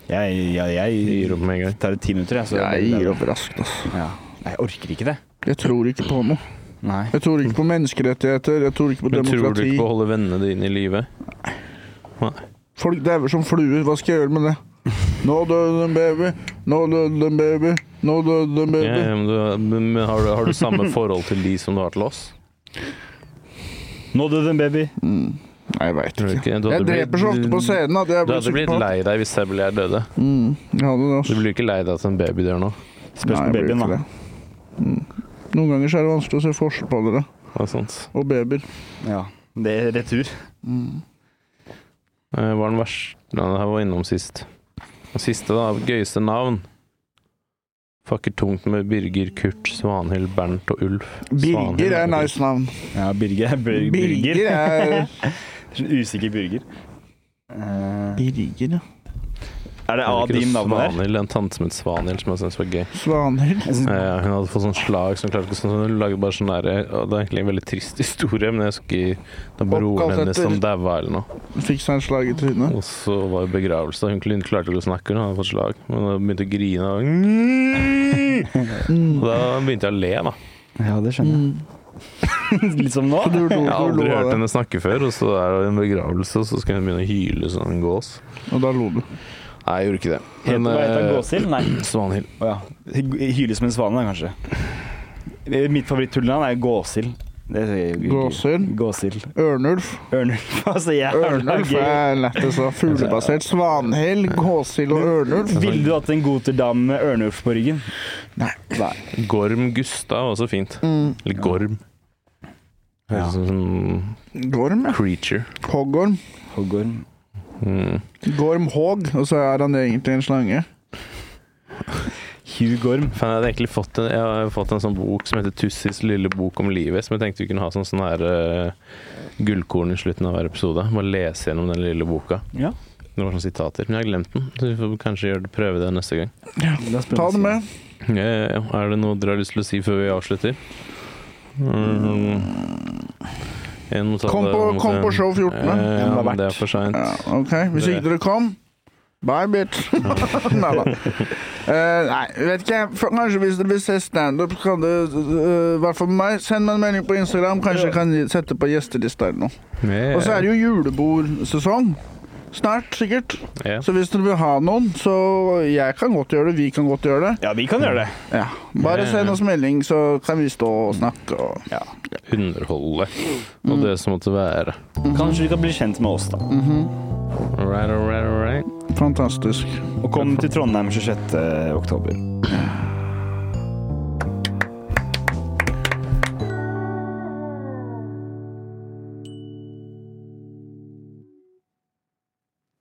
Jeg,
Vi
jeg, jeg
Gir opp med en gang.
tar det ti minutter, jeg. så-
Jeg gir opp raskt, ass.
Ja. Nei, Jeg orker ikke det.
Jeg tror ikke på noe.
Nei.
Jeg tror ikke på menneskerettigheter. Jeg tror ikke på
Men tror du
demokrati.
ikke på å holde vennene dine i live?
Folk dauer som fluer. Hva skal jeg gjøre med det? Nå døde en baby. Nå døde en baby. Nå døde
Ja,
en baby.
ja, men du- men har, du, har du samme forhold til de som du har til oss?
Nå døde en baby.
Nei, jeg veit
Tror du
ikke.
ikke? Du
Jeg
hadde
dreper så
blitt-
ofte på scenen at jeg
Du
blir
hadde blitt
psykopat.
lei deg hvis Seb eller jeg døde.
Mm, jeg hadde det, ass.
Du blir ikke lei deg at en baby dør nå.
Spørs
Nei,
på
jeg blir
babyen,
ikke
da.
det. Mm. Noen ganger så er det vanskelig å se forskjell på dere
Det er sant.
og babyer.
Ja. Det er retur.
Eh, Hva er den verste Nei, det her var innom sist. Den siste, da. Gøyeste navn. Fucker tungt med Birger, Kurt, Svanhild, Bernt og Ulf. Svanhild.
Birger er nice navn.
Ja, Birger. Birger.
Birger
Birger.
er
Sånn Usikker Birger. Eh,
Birger, ja.
er det
Jeg
A
liker
din navn der?
Svanhild, en tante som het Svanhild, som jeg syntes var gøy.
Svanhild.
Jeg synes-
Eh, hun hadde fått sånn slag som klarte ikke sånn, Hun lagde bare sånn derre og Det er egentlig en veldig trist historie, men jeg husker det var broren
Oppkalt
hennes
etter-
som daua eller noe.
Fikk seg en slag i trynet.
Og så var det begravelse. Hun klin- klarte ikke å snakke, hun hadde fått slag. Men hun begynte å grine. Og, og da begynte jeg å le, da.
Ja, det skjønner jeg. Litt som nå.
Mm. Du lo,
Jeg har
du
aldri
lo av
hørt
det.
henne snakke før, og så er det en begravelse, og så skal hun begynne å hyle som en gås.
Og da lo du.
Nei, jeg gjorde ikke det.
Heter, hva heter
eh,
han? Gåsild? Nei.
Svanhild.
Å ja. Hyle som en svane, da, kanskje. Eh, Mitt favorittullenavn er Gåsild. Det sier jo-
Gåshild.
Gåshild.
Ørnulf.
Ørnulf. Hva sier jeg?
Ørnulf eh,
Det er gøy.
er lettest å Fuglebasert. Svanhild, Gåshild og Ørnulf.
Ville du hatt en goterdam med Ørnulf på ryggen?
Nei.
Gorm Gustav er også fint.
Mm.
Eller Gorm.
Ja.
Høres ut som
Gorm, ja.
creature.
Hoggorm.
Hoggorm.
Mm.
Gorm Haag, og så er han egentlig en slange.
Hugorm.
Fan, jeg hadde egentlig fått en, jeg har fått en sånn bok som heter Tussis lille bok om livet, som jeg tenkte vi kunne ha som sånn her eh, gullkorn i slutten av hver episode. Bare lese gjennom den lille boka.
Ja.
Det var sånne sitater. Men jeg har glemt den, så vi får kanskje gjøre det, prøve det neste gang.
La oss prøve
Ta
å si
det med.
Ja, ja, ja. Eh, Er det noe dere har lyst til å si før vi avslutter? Mm. Jeg må ta
Kom
det-
på- kom på show 14.
Eh, Ja,
Det må ha
men det er
vært.
for seint.
Ja, OK. Hvis ikke dere kom, bye, bitch. nei da. Eh, nei, vet ikke jeg. For- Kanskje hvis dere vil se standup, kan du I hvert fall meg. Send meg en melding på Instagram. Kanskje jeg kan gi- sette på gjestelista eller noe. Og så er det jo julebordsesong. Snart, sikkert.
Ja.
Så hvis dere vil ha noen, så Jeg kan godt gjøre det, vi kan godt gjøre det.
Ja, vi kan gjøre det.
Ja. Bare send oss melding, så kan vi stå og snakke og
Underholde og det som måtte være.
Kanskje du kan bli kjent med oss, da.
All right, all right, all right.
Fantastisk.
Og kom til Trondheim 26. eh, oktober.